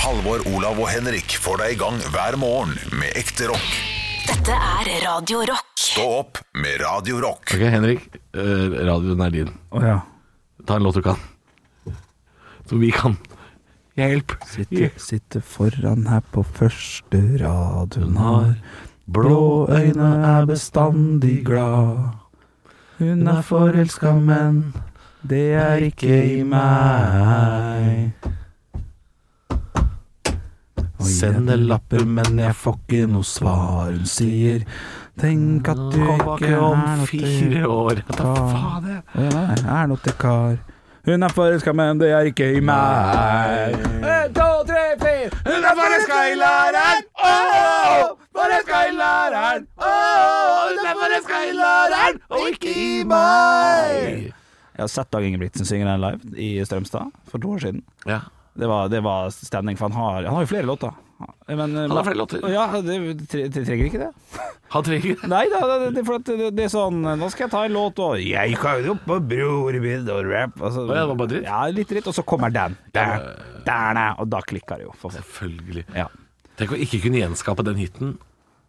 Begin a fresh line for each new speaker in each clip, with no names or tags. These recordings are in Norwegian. Halvor, Olav og Henrik får deg i gang hver morgen med ekte rock.
Dette er Radio Rock.
Stå opp med Radio Rock.
Ok, Henrik, eh, radioen er din.
Å ja.
Ta en låt du kan. Som vi kan. Hjelp.
Sitte, sitte foran her på første rad hun har.
Blå øyne er
bestandig glad. Hun er forelska, men det er ikke i meg. Og jeg
Sender lapper, men jeg får ikke noe svar.
Svar hun sier. Tenk at du
Kom
ikke
tilbake
er
om
noe til
fire år. Da faen jeg.
Å, ja, nei, er noe til kar. Hun er forelska, men det er ikke i meg. En, to, tre, fire. Hun er forelska i læreren. Åh, forelska i læreren. Åh, hun er forelska i læreren, og ikke i meg. Jeg har sett Dag Ingebrigtsen synge den live i Strømstad for to år siden.
Ja.
Det var, det var stemning, for han har, han har jo flere låter. Men, han
har flere låter.
Ja, det, tre, tre, trenger ikke det.
Han trenger
Nei da, det, det, for at det, det er sånn Nå skal jeg ta en låt, og Jeg kan jo på bror min og rap. Altså,
Å ja, det var bare dritt?
Ja, litt dritt. Og så kommer den. Der, der, der, og da klikker det jo. For faen.
Selvfølgelig.
Ja.
Tenk å ikke kunne gjenskape den hiten.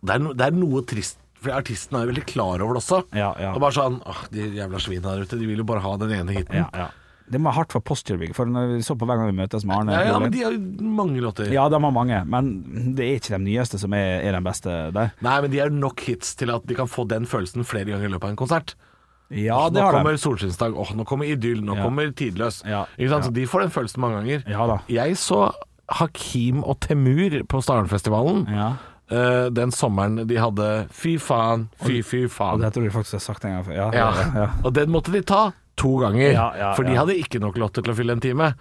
Det er, no, det er noe trist, for artisten er jo veldig klar over det også.
Ja, ja.
Det er bare sånn Åh, de jævla svina der ute, de vil jo bare ha den ene hiten.
Ja, ja. Det må være hardt for Posturebygg, for når vi så på hver gang vi møtes med Arne
Ja, ja,
Nordlien-
men de har jo mange låter.
ja, de har mange, men det er ikke de nyeste som er, er den beste der.
Nei, men de har nok hits til at de kan få den følelsen flere ganger i løpet av en konsert.
Ja,
nå
det har de.
kommer solskinnsdag, åh, nå kommer idyll, nå
Ja.
kommer tidløs.
Ja,
Ikke sant?
ja.
Så de får den følelsen mange ganger.
Ja da.
Jeg så Hakim og Temur på Starenfestivalen
Ja.
eh, den sommeren de hadde Fy faen, fy fy
Og
faen.
det tror jeg faktisk jeg har sagt en gang før. Ja,
Ja.
ja.
Og den måtte de ta to ganger,
Ja, ja,
for de
ja.
hadde ikke nok låter til å fylle en time.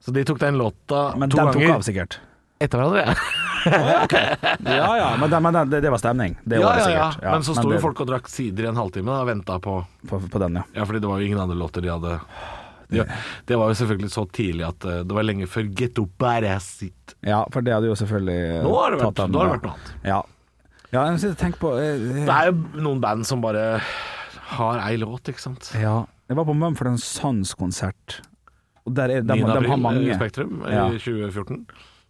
Så de tok den låta
Men
to
den tok av,
ganger
sikkert.
etter hverandre.
Ja ja, men, den, men den, det, det var stemning. Det
Ja,
var det
ja, ja.
sikkert. Ja,
Men så sto jo
det-
folk og drakk sider i en halvtime da, og venta på
på, på den, ja.
Ja, fordi det var jo ingen andre låter de hadde det, det var jo selvfølgelig så tidlig at eh, det var lenge før eh, Getto Barasit.
Ja, for det hadde jo selvfølgelig
Nå har det
tatt
vært,
den,
nå har
ja.
det vært noe annet.
Ja. ja, jeg sitter og tenker på eh,
Det er jo noen band som bare har ei låt, ikke sant.
eh, ja. Jeg var på Mumford Sons-konsert. Og der er, de,
9.
de,
april
har mange
i eh, Spektrum
Ja.
i 2014.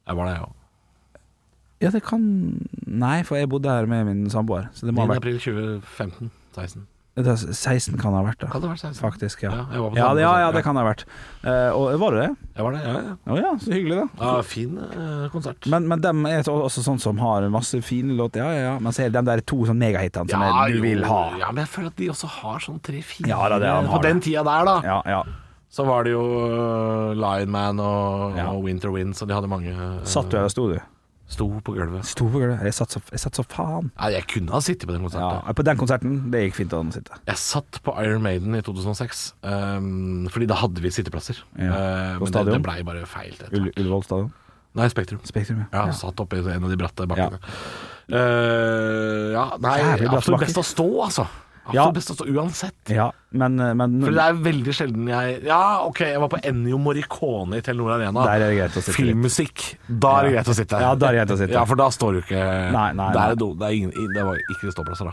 Jeg var der, jeg òg.
Ja, det kan Nei, for jeg bodde her med min samboer. Så det
9.
må ha vært
april 2015-16.
det er 16 kan det ha vært,
Kan
da.
det ha vært 16?
Faktisk, ja.
Ja, jeg var på
Ja, det, ja,
samme
ja,
konsert,
det kan det ha vært. Eh, og var det det?
Jeg var der, ja, ja.
Å ja, så hyggelig, da.
ja fin eh, konsert.
Men, men dem er så- også sånn som har masse fine låter. Ja, ja, ja. Men så er det de der to sånn megahitene som
Ja,
er, du
jo,
vil ha.
Ja, men jeg føler at de også har sånn tre-fire
Ja, da, det er- han har
På den
det.
tida der, da.
Ja, ja.
Så var det jo øh, Lion Man og,
Ja.
og Winter Wind, så de hadde mange øh,
Satt du her og sto, du?
Sto på gulvet.
Sto på gulvet. Jeg satt så, jeg satt så faen.
Nei, jeg kunne ha sittet på den konserten.
Ja, på den konserten, det gikk fint å sitte.
Jeg satt på Iron Maiden i 2006, øhm, ehm, fordi da hadde vi sitteplasser.
Ja.
Eh, men
På
det,
stadion?
det blei bare feil. etter hvert.
Ullevål stadion?
Nei, Spektrum.
Spektrum,
Ja, Satt oppe i en av de bratte bakkene. Eh, ja, nei,
Jævlig bratte
absolutt
bakker.
best å stå, altså. Absolutt
Ja.
best å stå uansett.
Ja, men, eh, men
For det er veldig sjelden jeg Ja, OK, jeg var på Ennio Morricone i Telenor Arena.
Der er det greit å sitte litt.
Filmmusikk. Da er det
Ja.
greit å sitte.
Ja, da er det greit å sitte.
Ja, for da står du ikke
Nei, nei,
Det,
nei.
er do, det, er ingen, det var ikke ståplasser, da.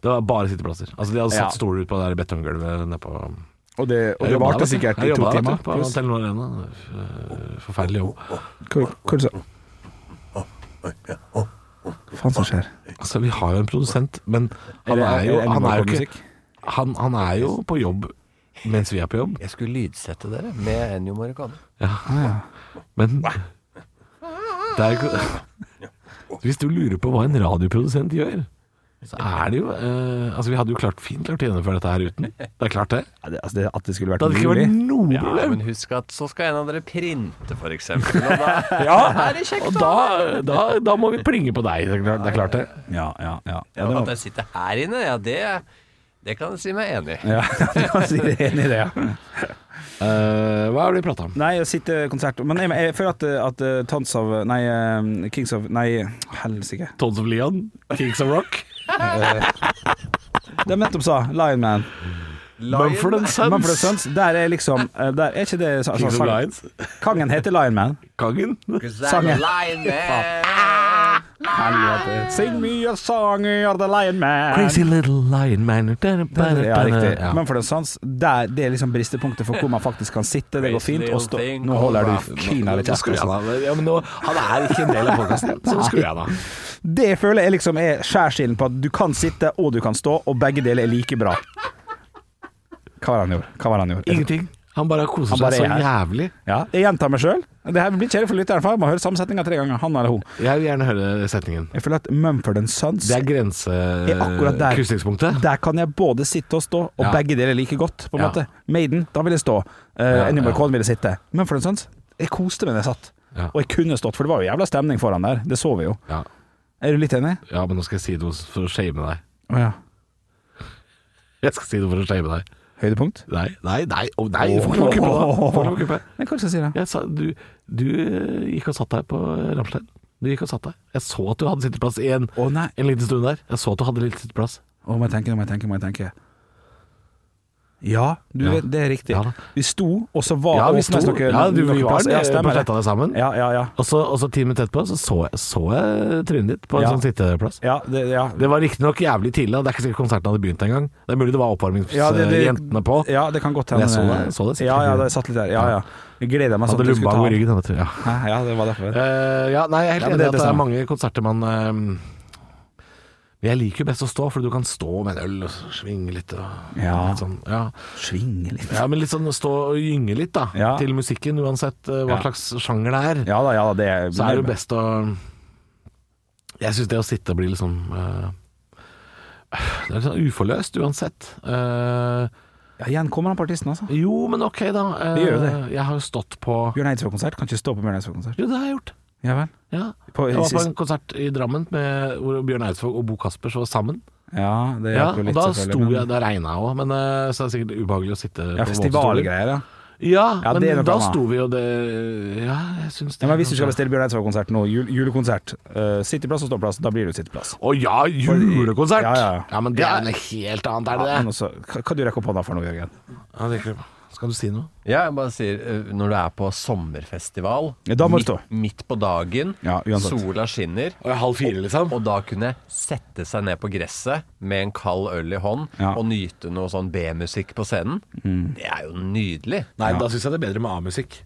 Det var bare sitteplasser. Altså, de hadde
Ja.
satt stoler ut på det der betonggulvet nedpå
Og det, og det varte sikkert i to timer.
På
pluss.
Telenor Arena. F- Forferdelig jobb.
Hva hva er det så? Faen som skjer?
Altså, vi har jo en produsent, men han er jo, han er jo ikke han, han er jo på jobb mens vi er på jobb.
Jeg skulle lydsette dere med Ennio Morricone.
Men det er jo ikke- Hvis du lurer på hva en radioprodusent gjør, så er det jo eh, Altså, vi hadde jo klart fint klart å gjennomføre dette her uten. Det er klart, det.
Ja, det, altså, det, At det skulle
Det
vært
hadde ikke vært
mulig?
noe
Ja,
problem.
men husk at så skal en av dere printe, for eksempel. Og da,
Ja, og da, da, da må vi plinge på deg. Det er klart det. Er klart det.
Ja, ja, ja. ja, det
at
var,
jeg sitter her inne, ja, det, det kan jeg si meg enig i.
ja du kan si det enig i det, ja.
Eh, hva har de prata om?
Nei, å sitte konsert Men jeg, jeg føler at, at eh, Tons of Nei, eh, Kings of Nei, helsike.
Tons of Leon? Kings of Rock?
De nettopp sa Lion Man.
Mumford and Sons?
Mumford Sons, der er liksom eh, Der er ikke det sa-
Kings
sa-
of Lions?
Kangen heter Lion Man.
Kongen?
Cause I'm
Sangen.
a lion man.
Helvete. Sing me a song, you're the lion man.
Crazy little lion man
Ja, riktig.
Ja.
Men for det er sans, der, det er liksom bristepunktet for hvor man faktisk kan sitte. Det går
Crazy
fint. Og stå,
little thing
nå holder du
called rap.
pinadø
Nå skrur jeg
kjeft.
da. Ja, men nå, han er ikke en del av podkasten, så nå skrur jeg da.
Det føler jeg liksom er skjærsilden på at du kan sitte og du kan stå, og begge deler er like bra. Hva var det han gjorde? Hva var det han gjorde?
Ingenting. Han bare koser
Han bare
seg
er
så
her.
jævlig.
Ja, jeg gjentar meg sjøl. Det her blir kjedelig for lytteren, for han må høre samme setninga tre ganger. Han eller hun.
Jeg vil gjerne høre setningen.
Jeg føler at Mumford Sons
Det er
er akkurat der.
grensekrysningspunktet.
Der kan jeg både sitte og stå, og
Eh, Ja.
begge deler like godt, på en
Ja.
måte. Maiden, da vil jeg stå. Uh,
Ja,
Ennio
ja.
Morricone vil jeg sitte. Men for en sånn, jeg koste meg da jeg satt.
Ja.
Og jeg kunne stått, for det var jo jævla stemning foran der. Det så vi jo.
Ja.
Er du litt enig?
ja, men nå skal jeg si noe for å shame deg.
Å ja.
Jeg skal si noe for å shame deg.
Høydepunkt?
Nei, nei, nei. Å, nei du får ikke lov å kuppe deg. Du får ikke lov å kuppe deg.
Men hva skal jeg si da?
Jeg sa, du, du eh, gikk og satt deg på Ramstein. Du gikk og satt deg. Jeg så at du hadde sitteplass i en,
Å nei.
en liten stund der. Jeg så at du hadde litt sitteplass.
Å, må jeg tenke, nå må jeg tenke, må jeg tenke. Ja, du
Ja.
vet, det er riktig.
Ja da.
vi sto, og så var
Ja, vi
åpnet
sto.
dere-
Ja, du, vi
dere
var
plass. Ja,
eh, på
stemmer det.
sletta der sammen.
Ja, ja, ja.
Og så, og så ti minutter etterpå så, så, jeg, så jeg trynet ditt på en
Ja.
sånn sitteplass.
Ja, det, ja.
Det var riktignok jævlig tidlig, og det er ikke sikkert konserten hadde begynt engang. Det er mulig det var
Ja, det- det-
oppvarmingsjentene eh, på.
ja, det kan godt
Jeg
hende.
så det- så det sikkert.
ja, ja, det satt litt der. Ja, ja. Jeg gleder meg
Hadde
sånn til du skulle
lumbago
ta
i ryggen, vet du. Ja.
Hæ? Ja, det var derfor.
Eh, ja, nei, jeg er helt
Ja,
enig
men det
i
er
at
det
det er
samme.
mange konserter man eh, Jeg liker jo best å stå, for du kan stå med en øl og så svinge litt. Og,
Ja.
litt sånn, ja.
Svinge litt.
ja, men litt sånn stå og gynge litt, da.
Ja.
Til musikken, uansett eh, hva
Ja.
slags sjanger det er.
Ja da, ja da, det er,
Så er det jo best å Jeg syns det å sitte blir liksom eh, Det er litt sånn uforløst, uansett. Eh,
Ja, igjen kommer han på artisten, altså.
jo, men ok, da. Eh,
Det gjør jo det.
Jeg har jo stått på
Bjørn Eidsvåg-konsert. Kan ikke stå på Bjørn Eidsvåg-konsert.
Jo, det har jeg gjort.
Ja vel.
Ja.
På-
jeg var på en konsert i Drammen med, hvor Bjørn Eidsvåg og Bo Kaspers var sammen.
Ja, det
Ja,
hjelper jo
og
litt,
da
selvfølgelig,
sto
men-
jeg, da regna jeg òg, men eh, så er det sikkert ubehagelig å sitte
Ja,
på våtstoler.
festivalgreier, ja.
Ja,
Ja, det er
men
noe
da
annet.
sto vi jo det Ja, jeg syns det.
ja. Men hvis du skal bestille Bjørn Eidsvåg-konsert nå, jul julekonsert, eh, sitteplass og ståplass, da blir det jo sitteplass.
Å ja, julekonsert!
Ja, ja, ja.
men det er noe helt annet, er det
Ja, men
det?
også, hva, hva du rekker opp hånda for nå, Jørgen?
Ja, det er ikke- skal du si noe?
Ja, jeg bare sier eh, Når du er på sommerfestival
Ja, da må du
midt,
stå.
midt på dagen,
Ja, uansett.
sola skinner
Og halv fire, liksom?
og da kunne sette seg ned på gresset med en kald øl i hånd
Ja. Mm.
og nyte noe sånn B-musikk på scenen. Det er jo nydelig.
Nei, da syns jeg det er bedre med A-musikk.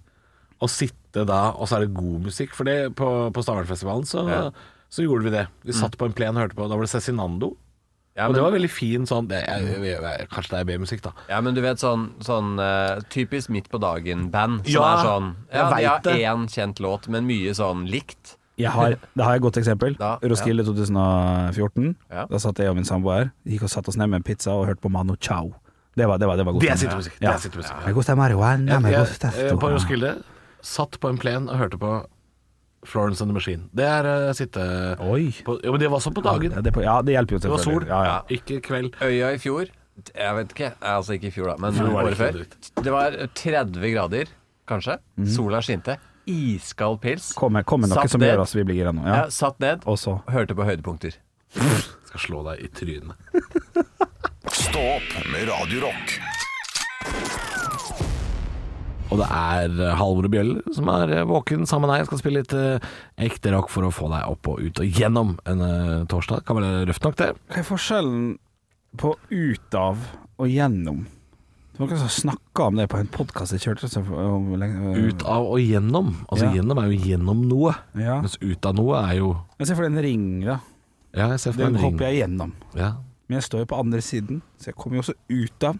Å sitte da, og så er det god musikk. For det, på, på Stavangerfestivalen så,
Ja.
så gjorde vi det. Vi satt på en plen og hørte på. Da var det Cezinando.
Ja,
og
men,
det var veldig fin sånn det, jeg, jeg, jeg, Kanskje det er B-musikk, da.
ja, men du vet sånn, sånn eh, typisk midt på dagen-band som
Ja,
er sånn Ja,
jeg
de
vet
har
det.
én kjent låt, men mye sånn likt.
Jeg har, da har jeg et godt eksempel.
Da, ja.
Roskilde 2014.
Ja.
Da satt jeg og min samboer Gikk og satte oss ned med en pizza og hørte på Mano Chao. Det var, det var, det var god
Det er
stemning.
sittemusikk.
Ja.
Det er sittemusikk.
Me gusta marihuana, me
Jeg,
gusta esto.
eh, på Roskilde satt på en plen og hørte på Florence and the Machine. Det er eh, sitte...
Oi.
På, jo, men det var sånn på
Ja,
dagen.
det, er på- ja, det hjelper jo
Det var
selvfølgelig.
sol,
Ja, ja.
ikke kveld.
Øya i fjor Jeg vet ikke, altså ikke i fjor da Men
Fjor var det ikke
året før Det var 30 grader, kanskje Sola skinte, iskald pils
Kommer, kommer noe
Satt
som
ned.
gjør oss vi blir gira nå.
ja.
Ja.
Satt ned,
Og så
hørte på høydepunkter
Skal slå deg i trynet.
Stå opp med Radio Rock.
Og det er eh, Halvor og Bjølle som er eh, våken sammen med deg. Skal spille litt eh, ekte rock for å få deg opp og ut og gjennom en eh, torsdag. Kan være røft nok, det.
Hva er forskjellen på ut av og gjennom? Det var noen som snakka om det på en podkast jeg kjørte. Så, om, lenge-
Ut av og gjennom. Altså
Mm. Ja.
gjennom er jo gjennom noe.
Ja.
Mens ut av noe er jo
Men se for deg en ring, da.
Ja, jeg ser for
Den
meg en
hopper
ring.
jeg gjennom.
Ja.
Men jeg står jo på andre siden, så jeg kommer jo også ut av.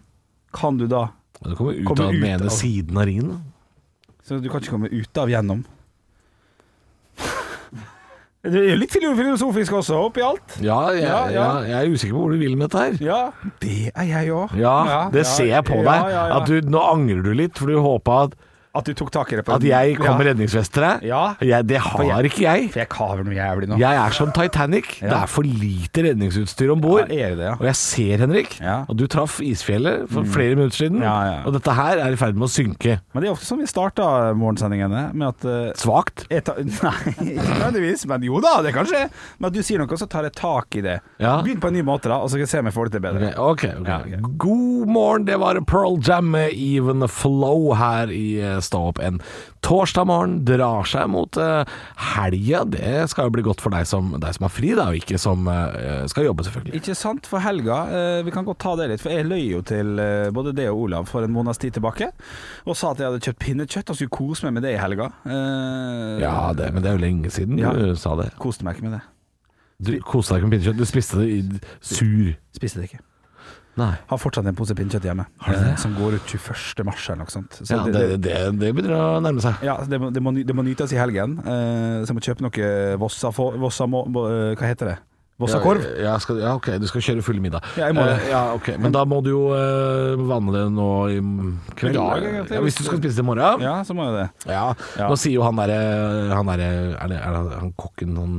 Kan du da
Men Du kommer ut
Kommer
av den
ut
ene
av-
siden av ringen. da.
Så du kan ikke komme ut av gjennom. Det er jo litt filo- filosofisk også, oppi alt.
Ja, jeg, ja,
Ja, ja.
jeg er usikker på hvor du vil med dette her.
Ja, det er jeg òg.
Ja, det ser jeg på deg.
Ja, ja, ja.
At du, nå angrer du litt, for du håpa at,
At du tok tak i det. på
at
en-
jeg kom med
ja.
redningsvest til deg.
Ja.
Jeg, det
For
har
jeg-
ikke jeg.
For jeg kaver noe jævlig nå.
Jeg er som Titanic. Det er for lite redningsutstyr om bord.
Ja, er det det, ja?
Og jeg ser, Henrik,
Ja. Mm.
at du traff isfjellet for flere minutter siden.
Ja, ja.
Og dette her er i ferd med å synke.
Men det er ofte sånn vi starter morgensendingene, med at eh,
Svakt.
jeg tar, Nei, ikke nødvendigvis, men jo da, det kan skje. Men at du sier noe, så tar jeg tak i det.
Ja.
Begynn på en ny måte, da, og så skal jeg se om jeg får det til bedre.
Ok, ok.
Ja, ok.
God morgen, det var Pearl Jam med Even Flow her i eh, stå opp en torsdag morgen, drar seg mot eh, helga. Det skal jo bli godt for deg som, deg som har fri, da, og ikke som eh, skal jobbe, selvfølgelig.
Ikke sant, for helga eh, Vi kan godt ta det litt, for jeg løy jo til eh, både det og Olav for en måneds tid tilbake. Og sa at jeg hadde kjøpt pinnekjøtt og skulle kose meg med det i helga. Eh,
Ja, det, men det er jo lenge siden
Ja.
du sa det.
Koste meg ikke med det.
Du koste deg ikke med pinnekjøtt, du spiste det i sur.
Spiste det ikke.
Nei.
Har fortsatt en pose pinnekjøtt hjemme, eh, som går ut 21. mars eller noe sånt. Så
Ja, det, det, det begynner å nærme seg.
Ja, det må, det, må, ny- det må nytes i helgen. Eh, så jeg må kjøpe noe Vossa... få- Vossa må, må- eh, hva heter det? Vossakorv?
Ja, eh, ja, skal, ja, ok, du skal kjøre full middag.
Ja, jeg må det.
Eh, ja, ok, Men da må du jo eh, vanne det nå i m- kveld.
I dag, egentlig.
ja, hvis du skal spise det i morgen. Ja.
Ja, så må jo det. Ja.
Nå sier jo han derre han derre er, det- er det han kokken han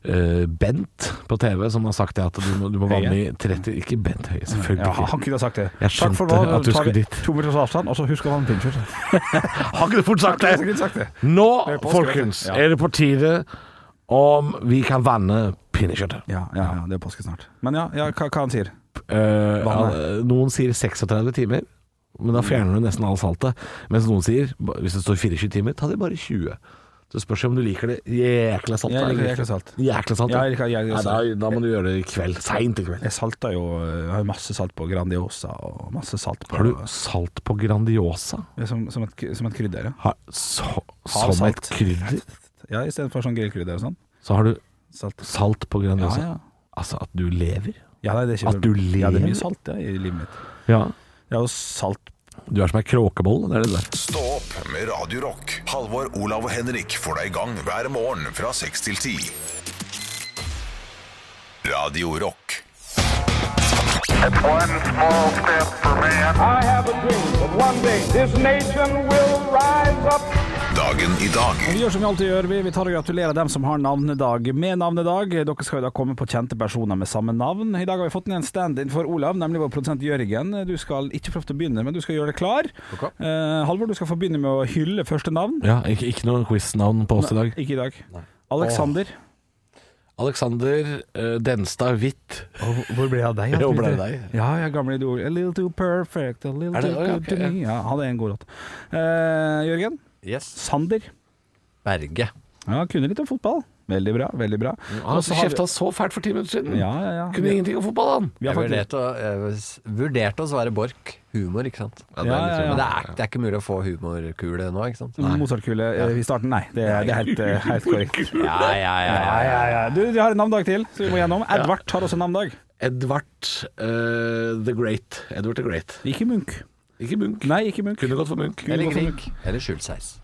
eh, Bent på TV som har sagt det at du må, du må vanne i 30 Ikke Bent Høie, selvfølgelig.
Ja, han kunne ha sagt det.
Jeg
Takk for
skjønte
nå,
at du
tar
skulle
vi
dit.
To meters avstand, og så husk å ha en pinnekjøtt.
Han kunne fort sagt
Jeg
det!
kunne sagt det.
Nå,
Det er påske,
folkens,
vet du. Ja.
er det på tide om vi kan vanne pinnekjøttet.
Ja, ja, ja, det er påske snart. Men ja, ja hva, hva han sier?
Eh,
Vannet.
ja, noen sier 36 timer, men
Mm.
da fjerner du nesten all saltet. Mens noen sier, ba- hvis det står 24 timer, ta det bare 20. Så spørs det om du liker det jækla salt.
Jeg
da,
liker
eller
jækla
ikke.
salt.
Jækla salt,
Ja, jeg liker jækla
Nei, da, da må du gjøre det i kveld. Seint i kveld.
Jeg salta jo Jeg har jo masse salt på Grandiosa og masse salt på
Har du salt på Grandiosa?
Ja, som, som, et, som et krydder, ja.
Har, så,
Har
som et
salt.
krydder?
ja Istedenfor sånn grillkrydder og sånn.
Så har du
Salt.
salt på
Ja,
Grandiosa?
ja.
Altså at du lever?
ja nei, det er ikke
At du
Ja, det er
lever.
mye salt ja, i livet mitt.
Ja.
Det er jo salt
Du er som ei kråkeboll, det er det der.
Stå opp med Radio Rock. Halvor, Olav og Henrik får deg i gang hver morgen fra 6 til 10. Radio Rock.
One small step for man.
I have a dream that one day this nation will rise up.
Dagen i dag.
Vi gjør som vi alltid gjør. Vi, vi tar og gratulerer dem som har navnedag med navnedag. Dere skal jo da komme på kjente personer med samme navn. I dag har vi fått ned en stand-in for Olav, nemlig vår produsent Jørgen. Du skal ikke få lov til å begynne, men du skal gjøre deg klar. Eh, Halvor, du skal få begynne med å hylle første navn.
Ja, ikke, ikke noe quiz-navn på oss i dag.
Ikke i dag. Alexander.
Alexander eh, Denstad Hvitt.
hvor ble det av deg?
ja? Hvor ble det av deg?
Ja, ja, gamle idol. A little too perfect, a little
Er det-
too
Å, ja,
good to
ok, ja.
me. Ja, han er en god låt. Eh, Jørgen.
Yes.
Sander.
Berge.
Ja, kunne litt om fotball. Veldig bra, veldig bra.
Mm, Han
Og så har vi-
kjefta så fælt for ti minutter siden.
Ja, ja, ja.
Kunne ingenting om fotball, han.
Vi har fått-
Jeg vurderte å, jeg s- vurderte å svare Borch. Humor, ikke sant.
det er litt Ja, ja, ja.
Men det er, det er ikke mulig å få humorkule nå, ikke sant.
Mozartkule eh, i starten, nei. Det, er- det er helt, eh, helt korrekt.
Ja, ja, ja, ja,
Ja,
ja.
ja, ja. Du, vi har en navndag til, så vi må gjennom. Edvard har også navndag.
Edvard eh, the Great. Edward the Great.
Ikke Munch.
Ikke Munch.
Nei, ikke Munch.
Kunne gått for Munch.
Eller Grieg. Eller Skjulseis.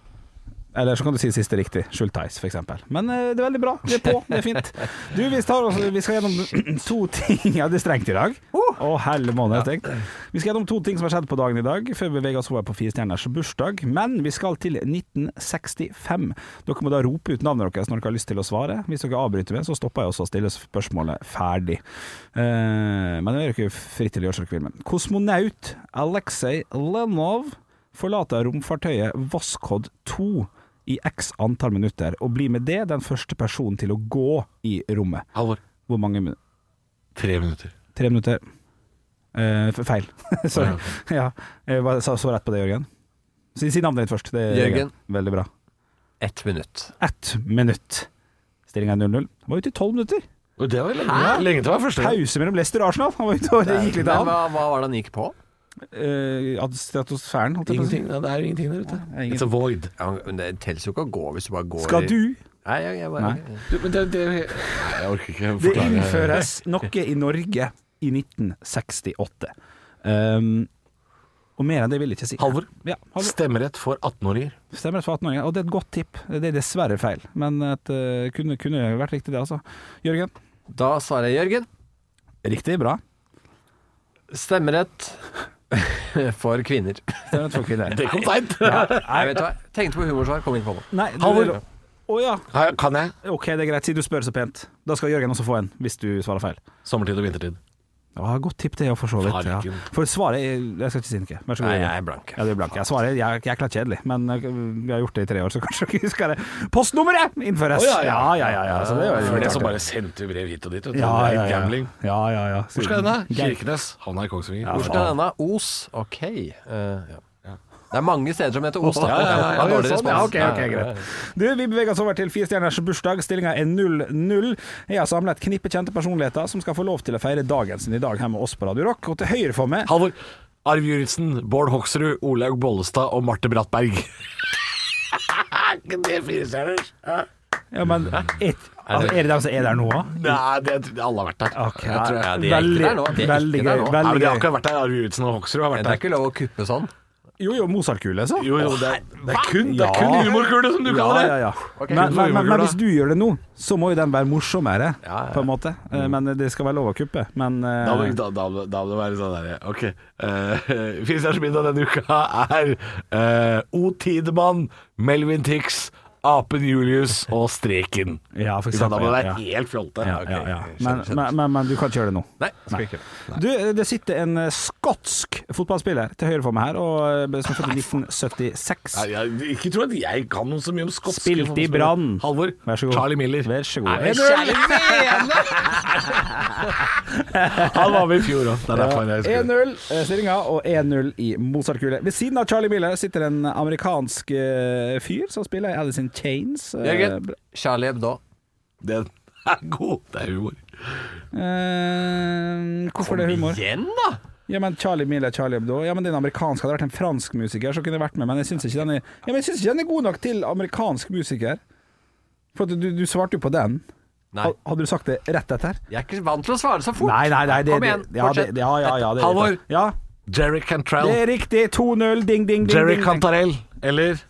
Eller så kan du si siste riktig. Schultheis, for eksempel. Men eh, det er veldig bra. Det er på, det er fint. Du, vi, tar oss, vi skal gjennom to ting Ja, det er strengt i dag. Å, helle måned, tenk. Vi skal gjennom to ting som har skjedd på dagen i dag, før vi beveger oss over på Fire stjerners bursdag. Men vi skal til 1965. Dere må da rope ut navnet deres når dere har lyst til å svare. Hvis dere avbryter meg, så stopper jeg også å stille spørsmålet ferdig. Eh, men det er dere fritt til å gjøre som dere vil med. Kosmonaut Aleksej Lenov forlater romfartøyet Voskod 2 i x antall minutter, og blir med det den første personen til å gå i rommet.
Halvor.
Hvor mange minutter?
Tre minutter.
Tre minutter. Eh, f- feil. Sorry. Ja, jeg var, sa så rett på det, Jørgen. Si, si navnet ditt først. Det er
Jørgen.
Veldig bra.
Ett minutt.
Ett minutt. Stillinga er 0-0. Han var ute i tolv minutter.
Og det var lenge, lenge til å være første.
Pause mellom Leicester og Arsenal. Han var ute og det gikk litt
Men
av.
hva, hva var det han gikk på?
Eh, at stratosfæren, holdt jeg på å si.
Ingenting. Ja, det er jo ingenting der ute.
ingen-
It's a void.
Ja, men det teller jo ikke å gå hvis du bare går
Skal
i-
du
Nei, jeg, jeg bare
Du, men det, det Nei, Jeg orker ikke å
Det
forklare.
innføres noe i Norge i 1968. Um, og mer enn det vil jeg ikke si.
Halvor.
Ja, Halvor.
Stemmerett for 18-åringer.
Stemmer det for 18-åringer. Og det er et godt tipp. Det er dessverre feil, men et, eh, kunne, kunne vært riktig det, altså. Jørgen?
Da svarer jeg Jørgen.
Riktig, bra.
Stemmerett for kvinner.
Stemmer det for kvinner.
Det kom seint!
Nei, vet du hva. Tenkte på humorsvar, kom ikke på noe.
Nei, det-
Halvor.
Å ja.
Kan jeg?
Ok, det er greit. Siden du spør så pent. Da skal Jørgen også få en, hvis du svarer feil.
Sommertid og vintertid.
Ja, godt tipp det, ja, for så vidt. Ja.
Farken.
For svaret er- Jeg skal ikke si noe. Vær så god.
Nei,
Jørgen.
jeg er blank.
Ja, du er blank. Jeg svarer jeg er jækla kjedelig, men øh, vi har gjort det i tre år, så kanskje dere husker det. Postnummeret innføres!
Å, ja, ja.
ja, ja, ja, Så det er jo
For det som bare sendte brev hit og dit. Vet du.
ja,
Det er
ja, ja.
Gambling.
Ja, ja, ja.
Hvor skal den, da? Kirkenes. Havna i Kongsvinger.
Hvor skal denne? Os. Ok. Eh, ja. Det er mange steder som heter Ost. da. Det er dårlig respons.
Ja, ok, ok, greit. Du, vi beveger oss over til firestjerners bursdag. Stillinga er 0-0. Jeg har samla et knippe kjente personligheter som skal få lov til å feire dagen sin i dag her med oss på Radio Rock. Og til høyre for meg
Halvor. Arv Juritzen, Bård Hoksrud, Olaug Bollestad og Marte Brattberg.
ja, men, et, altså, Er det dem som er der nå, da?
Nei, det, alle har vært der.
Ok.
Jeg tror, ja, de er
veldig,
der nå. De er
veldig
ikke
gøy.
der nå.
Nei, men
Veldig
de har
gøy.
ikke vært der. Arv Juritzen og Hoksrud har
Det
vært
er
der.
ikke lov å kuppe sånn.
Jo, jo, Mozart-kule, så.
Jo, jo, det, er- det er kun, det er kun
Ja.
humorkule, som du
Ja,
kaller det.
ja, ja. Men, men, men, men hvis du gjør det nå, så må jo den være morsommere,
Ja, ja.
på en måte. Eh, Men det skal være lov å kuppe. Men
Mm.
eh,
Da må, da, da, må- da må det være sånn derre Ok. Uh, Firestjerners middag denne uka er eh, O. Tidemann, Melvin Tix, Apen Julius og Streken.
Ja, for
Ikke sant? Da må det
eksempel,
være helt fjolte.
ja,
Ok,
ja, ja.
skjønner,
Men,
skjønner.
men, men, men du kan ikke gjøre det nå.
Nei, skal vi ikke.
Du, det sitter en eh, skotsk fotballspiller til høyre for meg her, og, eh, som er født i 1976.
Nei, jeg, ikke tro at jeg kan noe så mye om skotsk
Spilt i Brann.
Halvor.
Vær så god.
Charlie Miller.
Vær så god.
Nei, kjærlig mene! Han var med i fjor òg. Det er derfor jeg husker det.
1-0 eh, stillinga og 1-0 i Mozart-kule. Ved siden av Charlie Miller sitter en amerikansk eh, fyr som spiller i Alice in Chains. eh,
Jørgen.
bra-
Charlie Hebdo.
Den er god. Det er humor.
Eh, hvorfor det humor?
Igjen, da!
Ja, men Charlie Miller, Charlie Hebdo Ja, men det er en amerikansk Hadde det vært en fransk musiker, så kunne det vært med, men jeg syns ikke den er Ja, men jeg synes ikke den er god nok til amerikansk musiker. For at du, du svarte jo på den.
Nei,
Ha- Hadde du sagt det rett etter?
jeg er ikke vant til å svare så fort.
Nei, nei, nei. Det,
Kom igjen,
det, ja, det,
fortsett.
ja, ja, ja, det er
Halvor.
riktig. Ja,
Jerry Cantrell.
det er riktig. 2-0. Ding, ding, ding.
Jerry
ding, ding.
Cantarell. Eller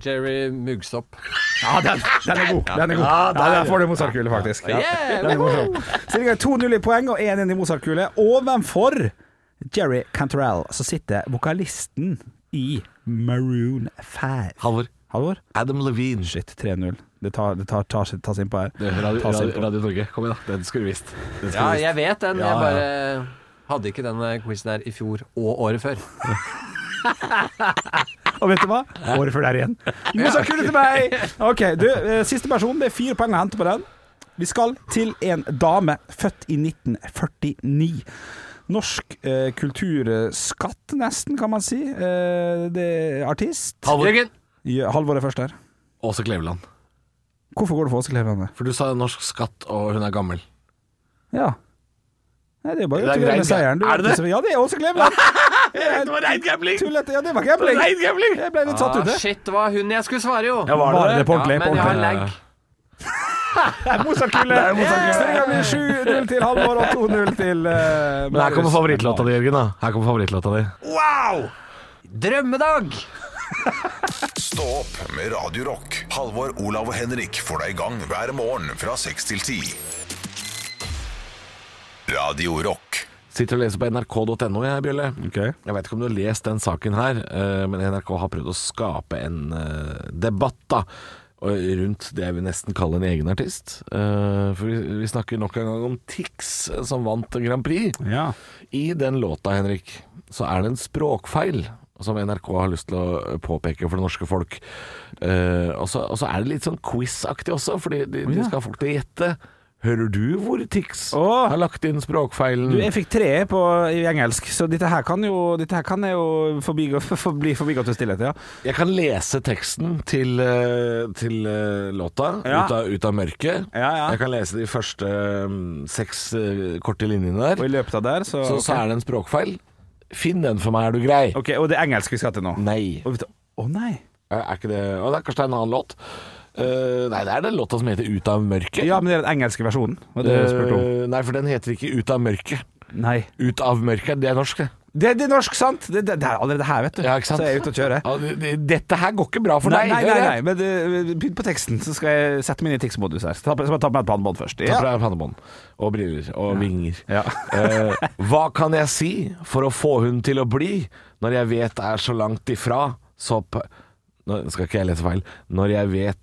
Jerry Muggsopp.
Ja, den, den er god. Den er god.
Ja,
Ja,
der.
der får du Mozart-kule, faktisk. Ja.
Yeah,
Den er morsom. Stillinga er 2-0 i poeng og 1-1 i Mozart-kule. Ovenfor Jerry Cantrell så sitter vokalisten i Maroon 5.
Halvor.
Halvor?
Adam Levine.
Shit, 3-0. Det tar, det tar, tar, tas innpå her.
Det er Radio,
Tas
radio,
innpå.
radio Norge, kom igjen, da. Den skulle du visst. Den
Ja,
skulle du visst.
jeg vet den.
Ja,
Jeg bare hadde ikke den eh, quizen her i fjor og året før.
Og vet du hva? Året før der igjen. Mozart-kule til meg! Ok, du, eh, siste person. Det er fire poeng å hente på den. Vi skal til en dame født i 1949. Norsk eh, kulturskatt, nesten, kan man si. Eh, det er artist.
Halvor.
Jørgen!
Ja, Halvor er først her.
Åse Kleveland.
Hvorfor går du for Åse Kleveland?
For du sa norsk skatt, og hun er gammel.
Ja. Nei, det er bare
Det
å
er
tulle med
greit,
seieren. Du
ja. Er det
vet ikke- Ja, det er Åse Kleveland.
Det var rein gambling!
Tullete. Ja, det var gambling.
Rein gambling!
Jeg ble litt satt
Ah,
ut, jeg.
shit, det var hun jeg skulle svare, jo!
var det det?
på ordentlig?
Ja,
på
men jeg har
ordentlig.
lag.
Mozart-kule. Stillinga blir 7-0 til Halvor og 2-0 til eh,
Men her kommer
Marius.
favorittlåta di, Jørgen. da Her kommer favorittlåta di.
Drømmedag!
Stå opp med Radio Rock. Halvor, Olav og Henrik får deg i gang hver morgen fra 6 til 10. Radio Rock.
Sitter og leser på nrk.no, jeg, Bjølle. Jeg vet ikke om du har lest den saken her, eh, men NRK har prøvd å skape en eh, debatt da, og rundt det jeg vil nesten kalle en egen artist. Eh, For vi vi snakker nok en gang om Tix, eh, som vant Grand Prix.
Ja.
I den låta, Henrik, så er det en språkfeil som NRK har lyst til å påpeke for det norske folk. Eh, og, så, og så er det litt sånn quiz-aktig også, fordi de, de skal ha folk til å gjette. Hører du hvor Tix
Åh!
har lagt inn språkfeilen?
Du, jeg fikk tre på, i engelsk, så dette her kan jo, dette her kan jeg jo forbigå, forbli forbigått i stillhet. Ja.
Jeg kan lese teksten til, eh, til eh, låta
Ja.
ut, av, ut av mørket.
Ja, ja.
Jeg kan lese de første mm, seks eh, korte linjene der.
Og i løpet av der, så,
Så, så er det en språkfeil. Finn den for meg, er du grei?
Ok, Og det er engelsk vi skal til nå?
Nei.
Og vet du- Å nei.
Er er ikke det Å, det er kanskje det er en annen låt? Eh, nei, det er den låta som heter 'Ut av mørket'.
Ja, men det er den engelske versjonen. Var det du spurte om?
Eh, nei, for den heter ikke 'Ut av mørket'.
Nei.
'Ut av mørket', det er norsk, det.
Det, det er norsk, sant? Det, det, det er allerede her, vet du.
Ja, ikke sant?
Så er jeg ute og kjører.
Ja, det- det- dette her går ikke bra for
Nei,
deg.
nei,
hører
nei,
jeg.
nei, men det- begynn på teksten, så skal jeg sette meg inn i tics-modus her. Ta, ta, ta på meg et pannebånd først.
Ta
Ja.
fra deg pannebånd og briller og vinger.
Ja.
Eh, hva kan jeg si for å få hun til å bli, når jeg vet det er så langt ifra, så p... Nå skal ikke jeg lese feil. Når jeg vet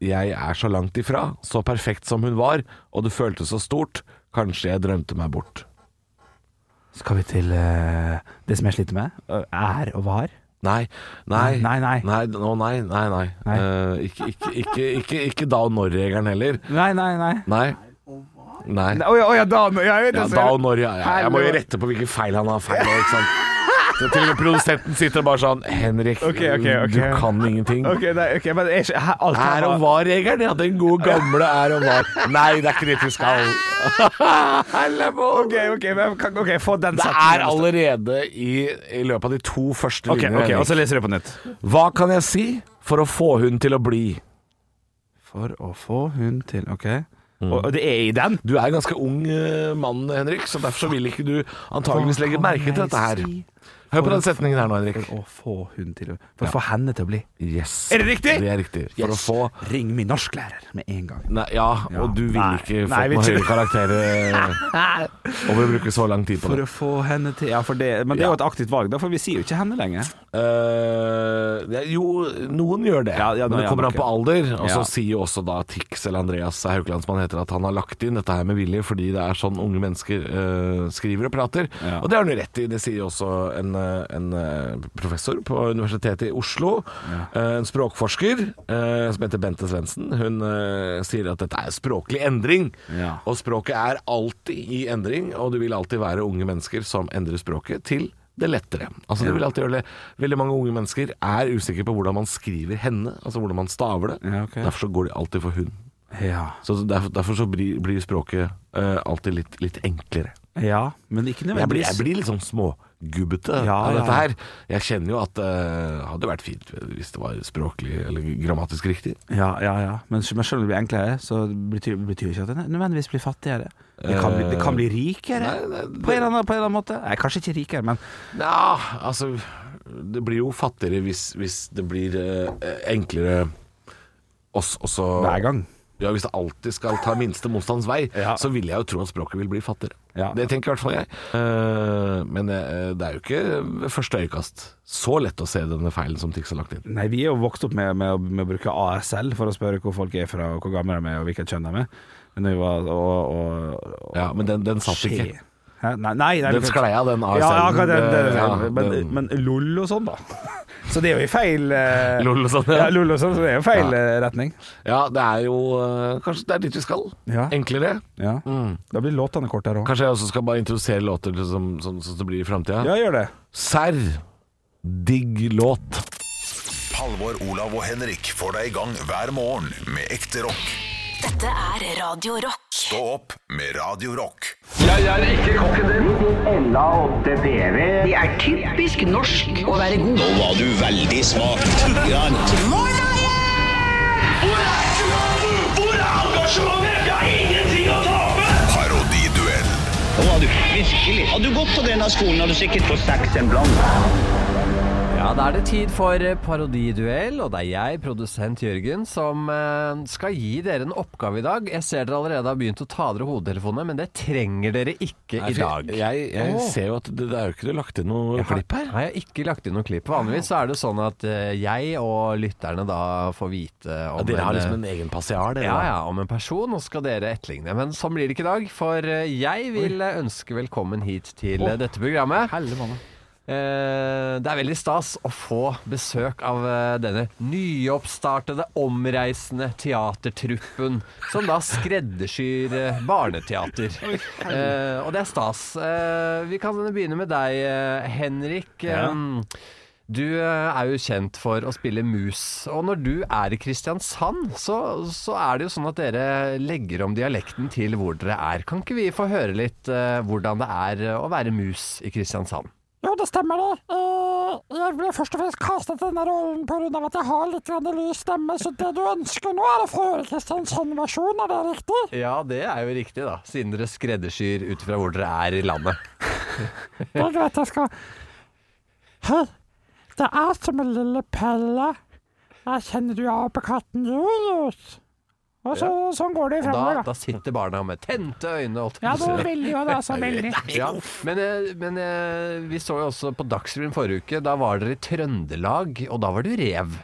jeg er så langt ifra, så perfekt som hun var, og det føltes så stort, kanskje jeg drømte meg bort.
Skal vi til eh, det som jeg sliter med? Eh, Er og var?
Nei, nei,
Nei, nei.
nei, nå, nei, nei, nei.
Nei.
Eh, ikke, ikke, ikke, ikke, ikke da og når-regelen heller.
Nei, nei, nei.
Nei. Nei.
Å ja, å ja, da, ja, jeg vet
Ja,
det, så-
da og når, ja, ja. Jeg må jo
Helvete.
rette på hvilken feil han har feil. Ikke sant? Så til og med produsenten sitter bare sånn Henrik,
Ok, ok, ok.
du kan ingenting.
Ok, nei, ok, men jeg, jeg, alt
Er og var-regelen, ja. Den gode gamle er og var. Nei, det er ikke dit vi skal.
Ok, ok, men jeg kan, ok, få den
Det
setningen. altså.
er allerede i, i løpet av de to første
Ok,
linjene.
ok, og
Henrik.
så leser jeg på nytt.
Hva kan jeg si for å få hun til å bli?
For å få hun til Ok.
Mm.
Og, og det er i den?
Du er en ganske ung eh, mann, Henrik, så derfor så vil ikke du antageligvis legge merke til dette her. Hør på den setningen her nå, Henrik.
For å få hun til å For å få henne til å bli
Yes.
Er det riktig?
Det er riktig. For å få
Ring min norsklærer med en gang.
Nei, ja, og du ville
Nei.
ikke
Nei,
fått
vi
noen
tror-
høyere karakter eh, over å bruke så lang tid på
For
det.
å få henne til Ja, for det, men det er jo et aktivt valg, da, for vi sier jo ikke henne lenger.
Eh, det er jo, noen gjør det,
Ja, ja,
men
nå
det
gjør
kommer
man
an på alder. Og så
Ja.
sier jo også da Tix eller Andreas Haukeland, som han heter, at han har lagt inn dette her med vilje fordi det er sånn unge mennesker eh, skriver og prater.
Ja.
Og det har han jo rett i. Det sier jo også en, eh, en eh, professor på Universitetet i Oslo, eh, en språkforsker eh, som heter Bente Svendsen. Hun eh, sier at dette er språklig endring.
Ja.
Og språket er alltid i endring, og det vil alltid være unge mennesker som endrer språket til det lettere. Altså det vil alltid gjøre det. Veldig mange unge mennesker er usikre på hvordan man skriver 'henne', altså hvordan man staver det.
Ja, ok.
Derfor så går de alltid for 'hun'.
Ja.
Så derfor, derfor så blir, blir språket eh, alltid litt, litt enklere.
ja men ikke
Jeg blir,
nødvendigvis.
jeg blir litt sånn smågubbete
Ja,
av
ja,
dette her. Jeg kjenner jo at det hadde vært fint hvis det var språklig eller grammatisk riktig.
Ja, ja, ja. Men, men selv om det blir enklere, så betyr, betyr ikke at den nødvendigvis blir fattigere. Det kan bli, det kan bli rikere,
Nei, nei, det-
på, en eller annen, på en eller annen måte. Nei, kanskje ikke rikere, men
Ja, altså Det blir jo fattigere hvis, hvis det blir eh, enklere oss også
hver gang.
Ja, Hvis det alltid skal ta minste motstands vei,
Ja.
så vil jeg jo tro at språket vil bli fattigere.
Ja.
Det tenker i hvert fall jeg. Eh, men eh, det er jo ikke ved første øyekast så lett å se denne feilen som Tix har lagt inn.
Nei, vi er jo vokst opp med, med, å- med å bruke ASL for å spørre hvor folk er fra, og hvor gamle de er, og hvilket kjønn de er. Men når vi var, og, og, og,
Ja, Men den, den satt
Skje.
ikke.
Hæ? Nei, nei, nei
Den
du kan-
sklei av, den ASL-en.
Ja, akkurat den, den, den,
Ja,
men,
den-
men LOL og sånn, da. Så det er jo i feil eh,
Lol og sånn,
ja.
ja.
LOL og sånn, så det er jo feil
Ja.
eh, retning.
Ja, det er jo eh, Kanskje det er dit vi skal.
Ja.
Enklere.
Ja. Da blir låtene kortere òg.
Kanskje jeg også skal bare introdusere låter til- som, sånn som det blir i framtida.
Ja, gjør det.
Serr. Digg låt.
Halvor, Olav og Henrik får deg i gang hver morgen med ekte rock.
Dette er Radio Rock.
Stå opp med Radio Rock.
Det er typisk norsk å være god. Nå var du veldig smak. Hvor er
engasjementet? Jeg har ingenting å tape!
Parodiduell.
Nå var du virkelig. Hadde du gått på denne skolen, hadde du sikkert fått seks en blant.
Ja, da er det tid for eh, parodiduell, og det er jeg, produsent Jørgen, som eh, skal gi dere en oppgave i dag. Jeg ser dere allerede har begynt å ta av dere hodetelefonene, men det trenger dere ikke i dag.
Jeg, jeg
Åh.
ser jo at det, det er jo ikke det lagt inn noe klipp her.
Nei, jeg har ikke lagt inn noe klipp. Vanligvis så er det sånn at eh, jeg og lytterne da får vite om
Dere har
en, eh,
liksom en egen passiar, dere.
ja,
da.
ja, om en person, og skal dere etterligne. Men sånn blir det ikke i dag, for eh, jeg vil eh, ønske velkommen hit til eh, dette programmet. Eh, det er veldig stas å få besøk av eh, denne nyoppstartede, omreisende teatertruppen som da skreddersyr eh, barneteater. Eh, og det er stas. Eh, vi kan begynne med deg, eh, Henrik. Eh, Du eh, er jo kjent for å spille mus, og når du er i Kristiansand, så, så er det jo sånn at dere legger om dialekten til hvor dere er. Kan ikke vi få høre litt eh, hvordan det er eh, å være mus i Kristiansand?
Jo, det stemmer det. Eh, jeg ble først og fremst kastet til denne rollen pga. at jeg har litt grann lys stemme, så det du ønsker nå, er å få høre Kristiansand-versjonen, er det riktig?
Ja, det er jo riktig, da. Siden dere skreddersyr ut fra hvor dere er i landet.
Det er greit, jeg skal Hei, det er som en lille Pelle. Jeg kjenner du apekatten Julius. Og så, sånn går det
Da,
framover,
da
da.
sitter barna med tente øyne og
Ja, nå vil jo det altså veldig.
Ja, men, eh, men eh, vi så jo også på Dagsrevyen forrige uke. Da var dere i Trøndelag, og da var du rev.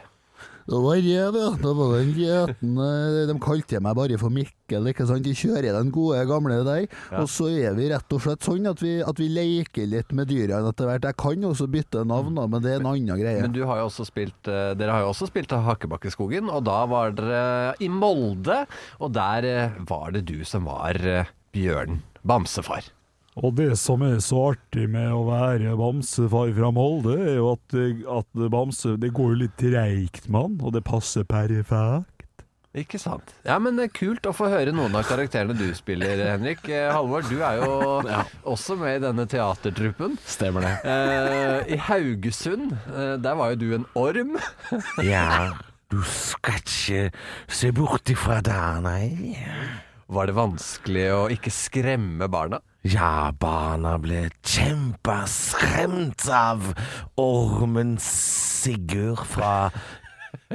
Det var rev, ja. Det var den gjetende De kalte meg bare for Mikkel, ikke sant. De kjører den gode gamle der. Og så er vi rett og slett sånn at vi, at vi leker litt med dyra etter hvert. Jeg kan også bytte navn, da, men det er en annen greie.
Men du har jo også spilt, eh, dere har jo også spilt Hakebakkeskogen, og da var dere i Molde. Og der eh, var det du som var eh, Bjørn eh, Bamsefar.
Og det som er så artig med å være bamsefar fra Molde, er jo at, at bamse Det går jo litt treigt med han, og det passer perfekt.
Ikke sant. Ja, men eh, kult å få høre noen av karakterene du spiller, Henrik. Eh, Halvor, du er jo også med i denne teatertruppen.
Stemmer det.
Eh, I Haugesund, eh, der var jo du en orm.
Ja, du skal ikke se bort ifra der, nei.
Var det vanskelig å ikke skremme barna?
Ja, barna ble kjempeskremt av ormen Sigurd fra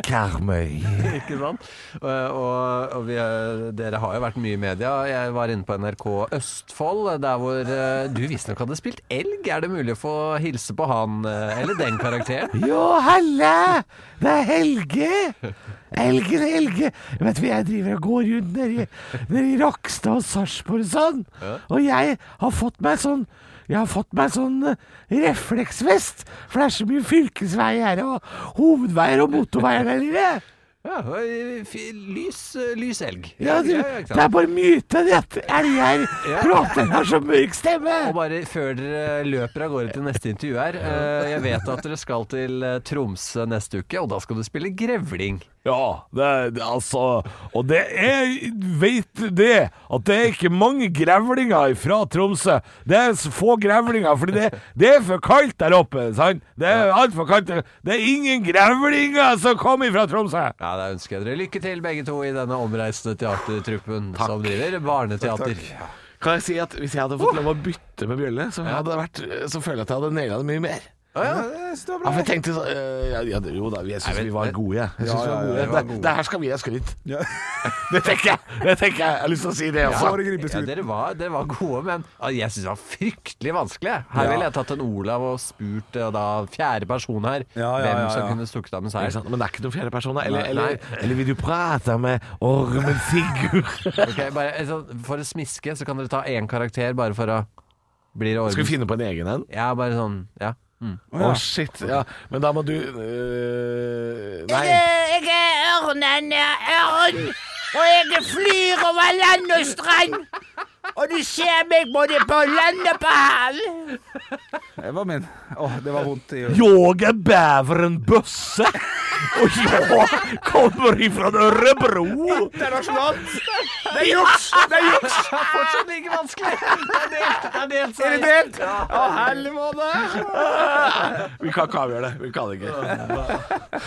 Karmøy.
Ikke sant? Og, og, og vi, eh, dere har jo vært mye i media. Jeg var inne på NRK Østfold, eh, der hvor eh, du visstnok hadde spilt elg. Er det mulig å få hilse på han eh, eller den karakteren?
Jo, halla! Det er Helge! Helgen, Helge! Vet du, jeg driver og går rundt nede i- nede i Rakstad og Sarpsborg og sånn.
Ja.
Og jeg har fått meg sånn jeg har fått meg sånn eh, refleksvest, for det er så mye fylkesveier og hovedveier og motorveier der nede.
Ja, og, eh, fi- lys, eh, lys elg.
Ja, du,
ikke
det
sant?
er bare myten at elger
Ja.
prater har så mørk stemme.
Og bare før dere løper av gårde til neste intervju her eh, Jeg vet at dere skal til eh, Tromsø neste uke, og da skal du spille grevling.
Ja, det, er- det- altså Og det er Veit du det? At det er ikke mange grevlinger fra Tromsø. Det er så få grevlinger, fordi det, det er for kaldt der oppe. sant? Det er altfor kaldt. der- Det er ingen grevlinger som kommer fra Tromsø!
Ja, Da ønsker jeg dere lykke til, begge to, i denne omreisende teatertruppen som driver barneteater.
Kan jeg si at hvis jeg hadde fått lov å bytte med bjølle, så, hadde det vært, så føler jeg at jeg hadde naila det mye mer.
Ja,
for jeg tenkte så, øh, ja, ja, Jo da, jeg syns vi var gode. Jeg synes
Ja,
vi
ja, ja,
var gode.
vi var
Det,
gode.
det her skal vi ha skryt. Det tenker jeg. Det tenker jeg. Jeg har lyst til å si det
Ja,
også.
ja, dere, var, dere var gode, men ja, jeg syns det var fryktelig vanskelig. jeg. Her
Ja.
ville jeg tatt en Olav og spurt eh, da fjerde person her
ja,
hvem
ja,
som
ja.
kunne stukket av med
Ikke
seier.
sant? Men det er ikke noen fjerde person, da. Eller,
Nei.
eller,
Eller vil du prate med ormen Sigurd?
Ok, bare, altså, for å smiske, så kan dere ta én karakter bare for å bli det
Skal vi finne på en egen en?
Ja, bare sånn. Ja. Mm.
Å shit. Ja, men da må du øh, Nei.
Jeg er ørnen, jeg er ørn, og jeg flyr over land og strand. Og du ser meg både på land og på hav.
Det var min. Åh, det var vondt i
Jeg er bæveren Bøsse, og jeg kommer ifra Ørebro.
Internasjonalt! Det er juks! Det er juks!
Fortsatt like vanskelig. Det er delt. Det er delt.
Er det delt? Å, helvete!
Vi kan ikke avgjøre det. Vi kan ikke.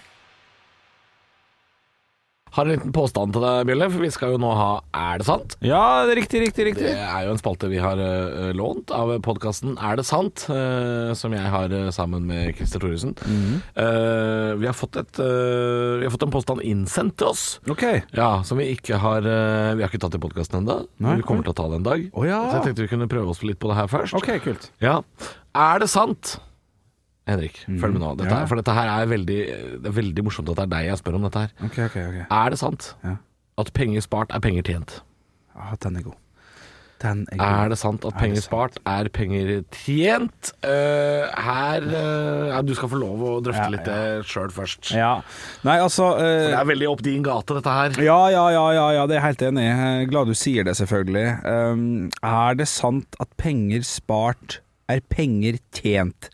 Har en liten påstand til deg, Bjelle, for vi skal jo nå ha Er det sant?
Ja, det er riktig, riktig, riktig.
Det er jo en spalte vi har eh, lånt av podkasten Er det sant? eh, som jeg har eh, sammen med Christer Thoresen.
Mhm.
Eh, vi, har fått et, eh, vi har fått en påstand innsendt til oss. Ja, Som vi ikke har eh, Vi har ikke tatt i podkasten ennå.
Nei,
men Vi kommer til å ta det en dag. Så jeg tenkte vi kunne prøve oss litt på det her først.
Ok, kult.
Ja. Er det sant? Henrik, følg med nå. Dette,
Ja.
For dette her er veldig, eh, det er veldig morsomt at det er deg jeg spør om dette her.
Ok, ok, ok.
Er det sant at penger spart er penger tjent?
Ja, Ah, den er god. Den er god.
Er det sant at penger spart er penger tjent? Eh, her eh, ja, Eh. Du skal få lov å drøfte litt det sjøl først.
Ja. Nei, altså eh,
Det er veldig opp din gate, dette her.
Ja, ja, ja, ja, ja, det er jeg helt enig i. Eh, Glad du sier det, selvfølgelig. Um, er det sant at penger spart er penger tjent?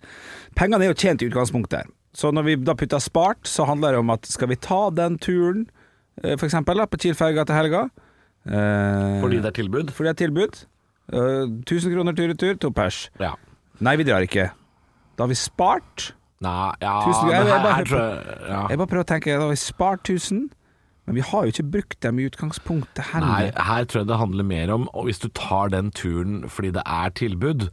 Pengene er jo tjent i utgangspunktet her. Så når vi da putter spart, så handler det om at skal vi ta den turen, eh, for eksempel, da, på Kiel-ferga til helga? Eh,
Fordi det er tilbud?
Fordi det er tilbud. Eh, 1000 kroner tur-retur, to pers.
Eh.
Nei, vi drar ikke. Da har vi spart.
Nei, ja,
Tusen, jeg,
men
jeg,
her-
bare,
her tror jeg- ja.
jeg bare prøver å tenke, da har vi spart 1000, men vi har jo ikke brukt dem i utgangspunktet
Nei,
heller.
her tror jeg det handler mer om Og hvis du tar den turen fordi det er tilbud,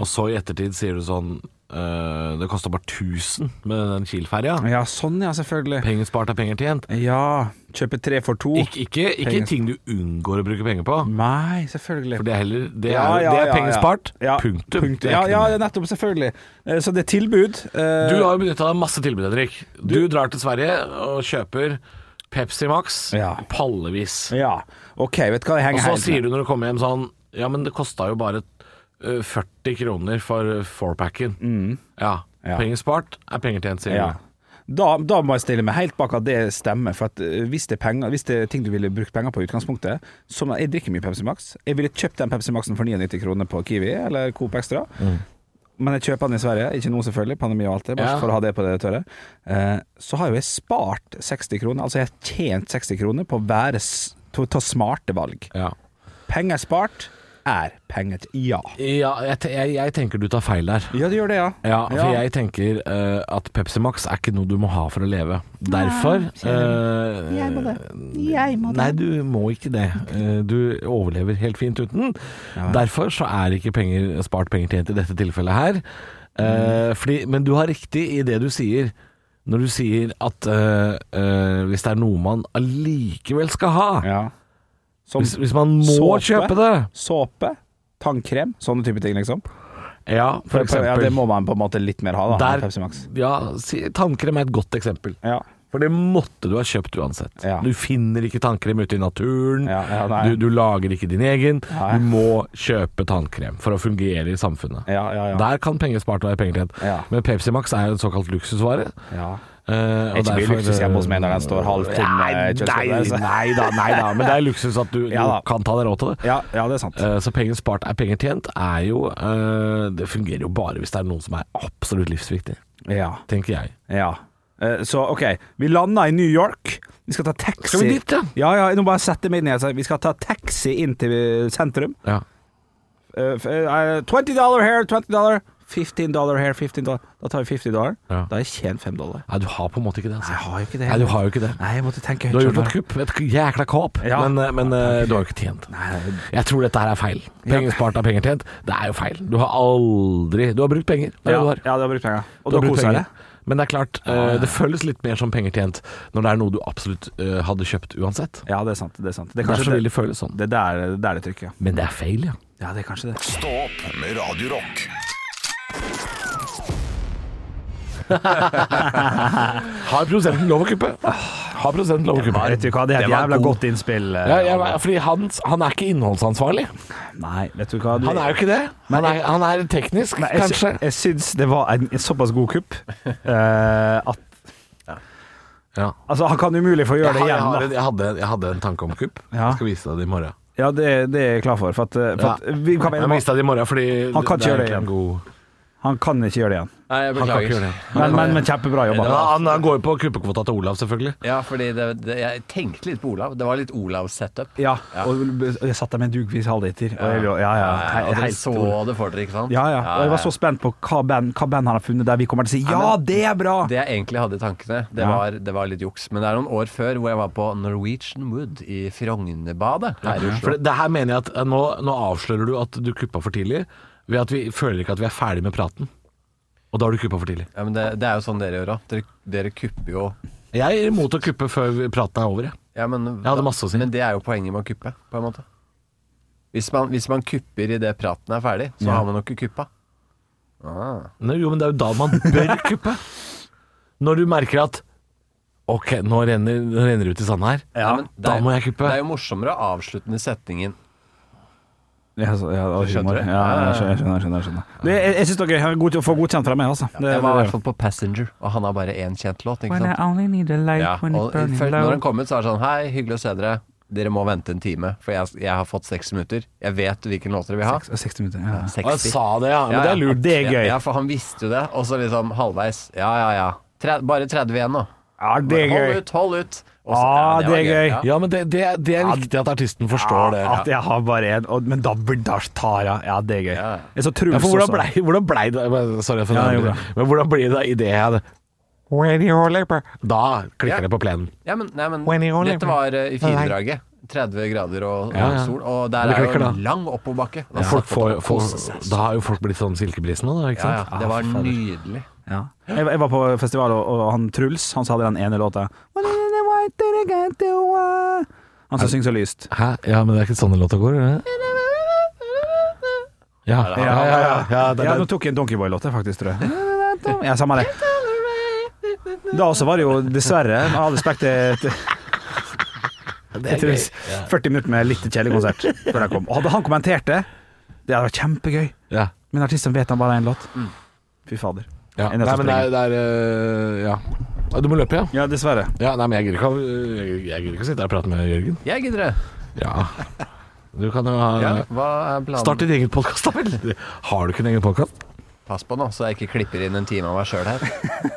og så i ettertid sier du sånn eh, Det kosta bare 1000 med den Kiel-ferja.
Ja, sånn ja, selvfølgelig.
Penger spart er penger tjent.
Ja, kjøpe tre for to.
Ikke, ikke, ikke
Penger-
ting du unngår å bruke penger på.
Nei, selvfølgelig.
For det er, heller, det er,
Ja, ja,
det er
ja,
penger
ja.
spart.
Ja,
Punktum. Det er
Ja,
ikke
ja,
noe mer.
ja, nettopp, selvfølgelig. Eh, Så det er tilbud. eh,
Du har jo benytta deg av masse tilbud, Henrik. Du, drar til Sverige og kjøper Pepsi Max pallevis.
Ja, ok, vet du hva jeg
Og
henger
så
helt med.
sier du når du kommer hjem sånn Ja, men det kosta jo bare eh, 40 kroner for fourpacken. Ja. Penger spart er penger tjent, sier
Mm. ja.
du.
Da, da må jeg stille meg helt bak at det stemmer. For at eh, hvis det er penger Hvis det er ting du ville brukt penger på i utgangspunktet Som jeg drikker mye Pepsi Max. Jeg ville kjøpt den Pepsi Maxen for 99 kroner på Kiwi eller Coop Extra. Men jeg kjøper den i Sverige, ikke nå selvfølgelig, pandemi og alt det, bare
Ja.
for å ha det på det tørre. Eh, så har jo jeg spart 60 kroner, altså jeg har tjent 60 kroner på å være s- til å ta smarte valg. Penger spart er penger til ja.
Ja, jeg, te- jeg, jeg tenker du tar feil der.
Ja, du gjør det, ja.
Ja, for
Ja.
jeg tenker eh, at Pepsi Max er ikke noe du må ha for å leve. Derfor eh,
Jeg må det. Jeg må
Nei,
det.
du må ikke det. Eh, Du overlever helt fint uten. Derfor så er ikke penger, spart penger tjent i dette tilfellet her. Eh, Fordi, men du har riktig i det du sier. Når du sier at eh, eh, hvis det er noe man allikevel skal ha hvis, hvis man må kjøpe det
Såpe, tannkrem, sånne type ting, liksom.
Ja, for
Ja,
eksempel.
det må man på en måte litt mer ha, da.
Der-
med Pepsi Max.
Ja, si, tannkrem er et godt eksempel. For det måtte du ha kjøpt uansett. Du finner ikke tannkrem ute i naturen.
nei.
du, du lager ikke din egen. Du må kjøpe tannkrem for å fungere i samfunnet. Der kan penger spart være penger tjent. Men Pepsi Max er jo en såkalt luksusvare. Eh, og
Det er ikke mye
derfor-
luksus hjemme hos meg når den står halvtom, eh,
Nei,
i
nei,
kjøleskapet, altså.
nei da, nei da. Men det er luksus at du,
Ja da.
du kan ta deg råd til det. Eh,
Ja, det er sant
Så penger spart er penger tjent er jo eh, Det fungerer jo bare hvis det er noen som er absolutt livsviktig.
Ja.
Tenker jeg.
Ja. Eh, Så OK, vi landa i New York. Vi skal ta taxi
Skal vi dit,
ja? Ja, nå bare setter jeg meg inn i det. Vi skal ta taxi inn til eh, sentrum.
Ja.
Eh, f- eh, 20 dollar here, 20 dollar 15 dollar here, 15 dollar Da tar vi 50 dollar. Da har jeg tjent 5 dollar.
Nei, du har på en måte ikke det. Altså.
Jeg har jo ikke det.
Nei, du har jo ikke det.
Nei, jeg måtte tenke
Du har gjort
høyt
et kupp, et jækla kåp,
Ja.
men, men eh, du har jo ikke tjent. Jeg tror dette her er feil. Penger spart er penger tjent. Det er jo feil. Du har aldri Du har brukt penger. Det er
Ja,
det du
ja,
har.
du har brukt penger. Og
Du
da
har brukt
koser jeg
penger.
deg.
Men det er klart, eh, det føles litt mer som penger tjent når det er noe du absolutt eh, hadde kjøpt uansett.
Ja, det er sant. Det er sant. Det er
Derfor
kanskje det-
vil det føles sånn.
Det er der det, er det trykket. ja.
Men det er feil, ja.
Ja, det er kanskje det.
Stå opp med Radio Rock.
Har produsenten lov å kuppe? Har produsenten lov å kuppe?
Vet du hva, det er et
var
jævla
god.
godt innspill. eh,
Ja, ja, fordi han, han er ikke innholdsansvarlig.
Nei, vet du hva du,
Han er jo ikke det. Han er, han er teknisk,
Nei, jeg, sy
kanskje.
jeg syns det var en, en såpass god kupp eh, at Altså, han kan umulig få gjøre det
Jeg har- Jeg, har,
igjen. da.
jeg, hadde, jeg hadde en tanke om kupp. Jeg skal vise deg det i morgen.
Ja, det, det er jeg klar for. For at, eh, for at
Ja.
vi kan
jeg viste deg det i morgen fordi
Han kan ikke gjøre
egentlig
det igjen.
en god
Han kan ikke gjøre det igjen.
Nei,
Han
jeg
kan ikke
beklager.
gjøre det.
Men, men, men kjempebra jobba.
Ja, han, han går jo på kuppekvota til Olav, selvfølgelig.
Ja, fordi det, det, jeg tenkte litt på Olav. Det var litt Olav-setup.
Ja, og og jeg satt der med en dugvis halvliter. Og jeg, lå- ja, ja, he-
og dere
helt
så
stor.
det for dere, ikke sant?
ja, ja. Og jeg var så spent på hva band, hva band han har funnet der vi kommer til å si ja, det er bra!
Det jeg egentlig hadde i tankene, det,
Ja.
var, det var litt juks. Men det er noen år før hvor jeg var på Norwegian Wood i Frognerbadet her i
For
Oslo.
det, det her mener jeg at eh, nå, nå avslører du at du kuppa for tidlig ved at vi føler ikke at vi er ferdig med praten. Og da har du kuppa for tidlig.
Ja, men det, det er jo sånn dere gjør òg. Dere, dere kupper jo
Jeg er imot å kuppe før vi- praten er over, jeg.
ja, men,
Jeg hadde masse å si.
Men det er jo poenget med å kuppe, på en måte. Hvis man, hvis man kupper idet praten er ferdig, så
Ja.
har man jo ikke kuppa. Ah.
Nei, jo, men det er jo da man bør kuppe. Når du merker at Ok, nå renner, nå renner det ut i sanden her.
Nei, men det
da
er-
må jeg kuppe.
Det er jo morsommere å avslutte den setningen.
Ja, så- ja, og humor.
Skjønner du?
Ja, ja, jeg skjønner, jeg skjønner, jeg skjønner, jeg skjønner. Det, jeg jeg syns dere har god, får godkjent fra meg, altså. Det-
Jeg var i
det-
hvert fall på Passenger, og han har bare én kjent låt. Ikke
When I
sant?
only need a light
Ja,
when it's
og
burning
før,
low.
når han kom ut, så er det sånn Hei, hyggelig å se dere. Dere må vente en time, for jeg, jeg har fått 60 minutter. Jeg vet hvilken låt dere vil ha.
Seks- 60 minutter, ja.
Ja, 60.
Og jeg sa det, ja. Men det er lurt.
Det er gøy.
Ja, for han visste jo det. Og så liksom halvveis. Ja, ja, ja. Tre, bare 30 igjen nå.
Ja, det er gøy.
Hold ut, hold ut. Og så-
Ah,
ja, var
det er gøy.
Ja.
Ja, men det, det, det er viktig at artisten forstår det.
At jeg har bare én, og- men da da tar jeg Ja, det er gøy. Jeg så Truls
Ja, for hvordan
også.
blei hvordan blei det Sorry for
Ja, det
det.
går bra.
men hvordan blir det i det jeg hadde Radio Labour. Da klikker
Ja.
det på plenen.
Ja, men, nei, men
When you only-
dette var eh, i firedraget. 30 grader og, og
Ja, ja.
sol, og
Det
der er
klikker
jo
da.
en lang oppoverbakke.
Ja, folk får, får,
Kose seg.
da Ah, har jo folk blitt sånn silkebrisen nå, da, ikke
Ja,
sant?
ja, det var nydelig.
Ja. Jeg, jeg var på festival, og, og han Truls han sa den ene låta When in the white that I got the white. Han som synger så lyst.
Hæ? Ja, men det er ikke sånn det låta går? er det? Ja, ja, ja. ja, ja, det,
Ja, nå
det.
tok jeg en Donkeyboy-låt, jeg, faktisk, tror jeg. Ja, samme det. Da også var det jo dessverre, med all respekt til til Truls, 40 minutter med litt kjedelig konsert før jeg kom. Og hadde han kommentert det, det hadde vært kjempegøy.
Ja.
Men artisten vet han bare har én låt. Fy fader.
Ja.
Jeg er nødt
Nei,
til å
men det
springe.
er, det er øh, Ja. Nei, Du må løpe, ja?
Ja, dessverre.
Ja, nei, men jeg gidder ikke, å- jeg gidder ikke å sitte her og prate med Jørgen.
Jeg gidder det.
Ja. Du kan jo ha
Ja, hva er planen?
Start din egen podkast, da vel. Har du ikke en egen podkast?
Pass på nå, så jeg ikke klipper inn en time av meg sjøl her.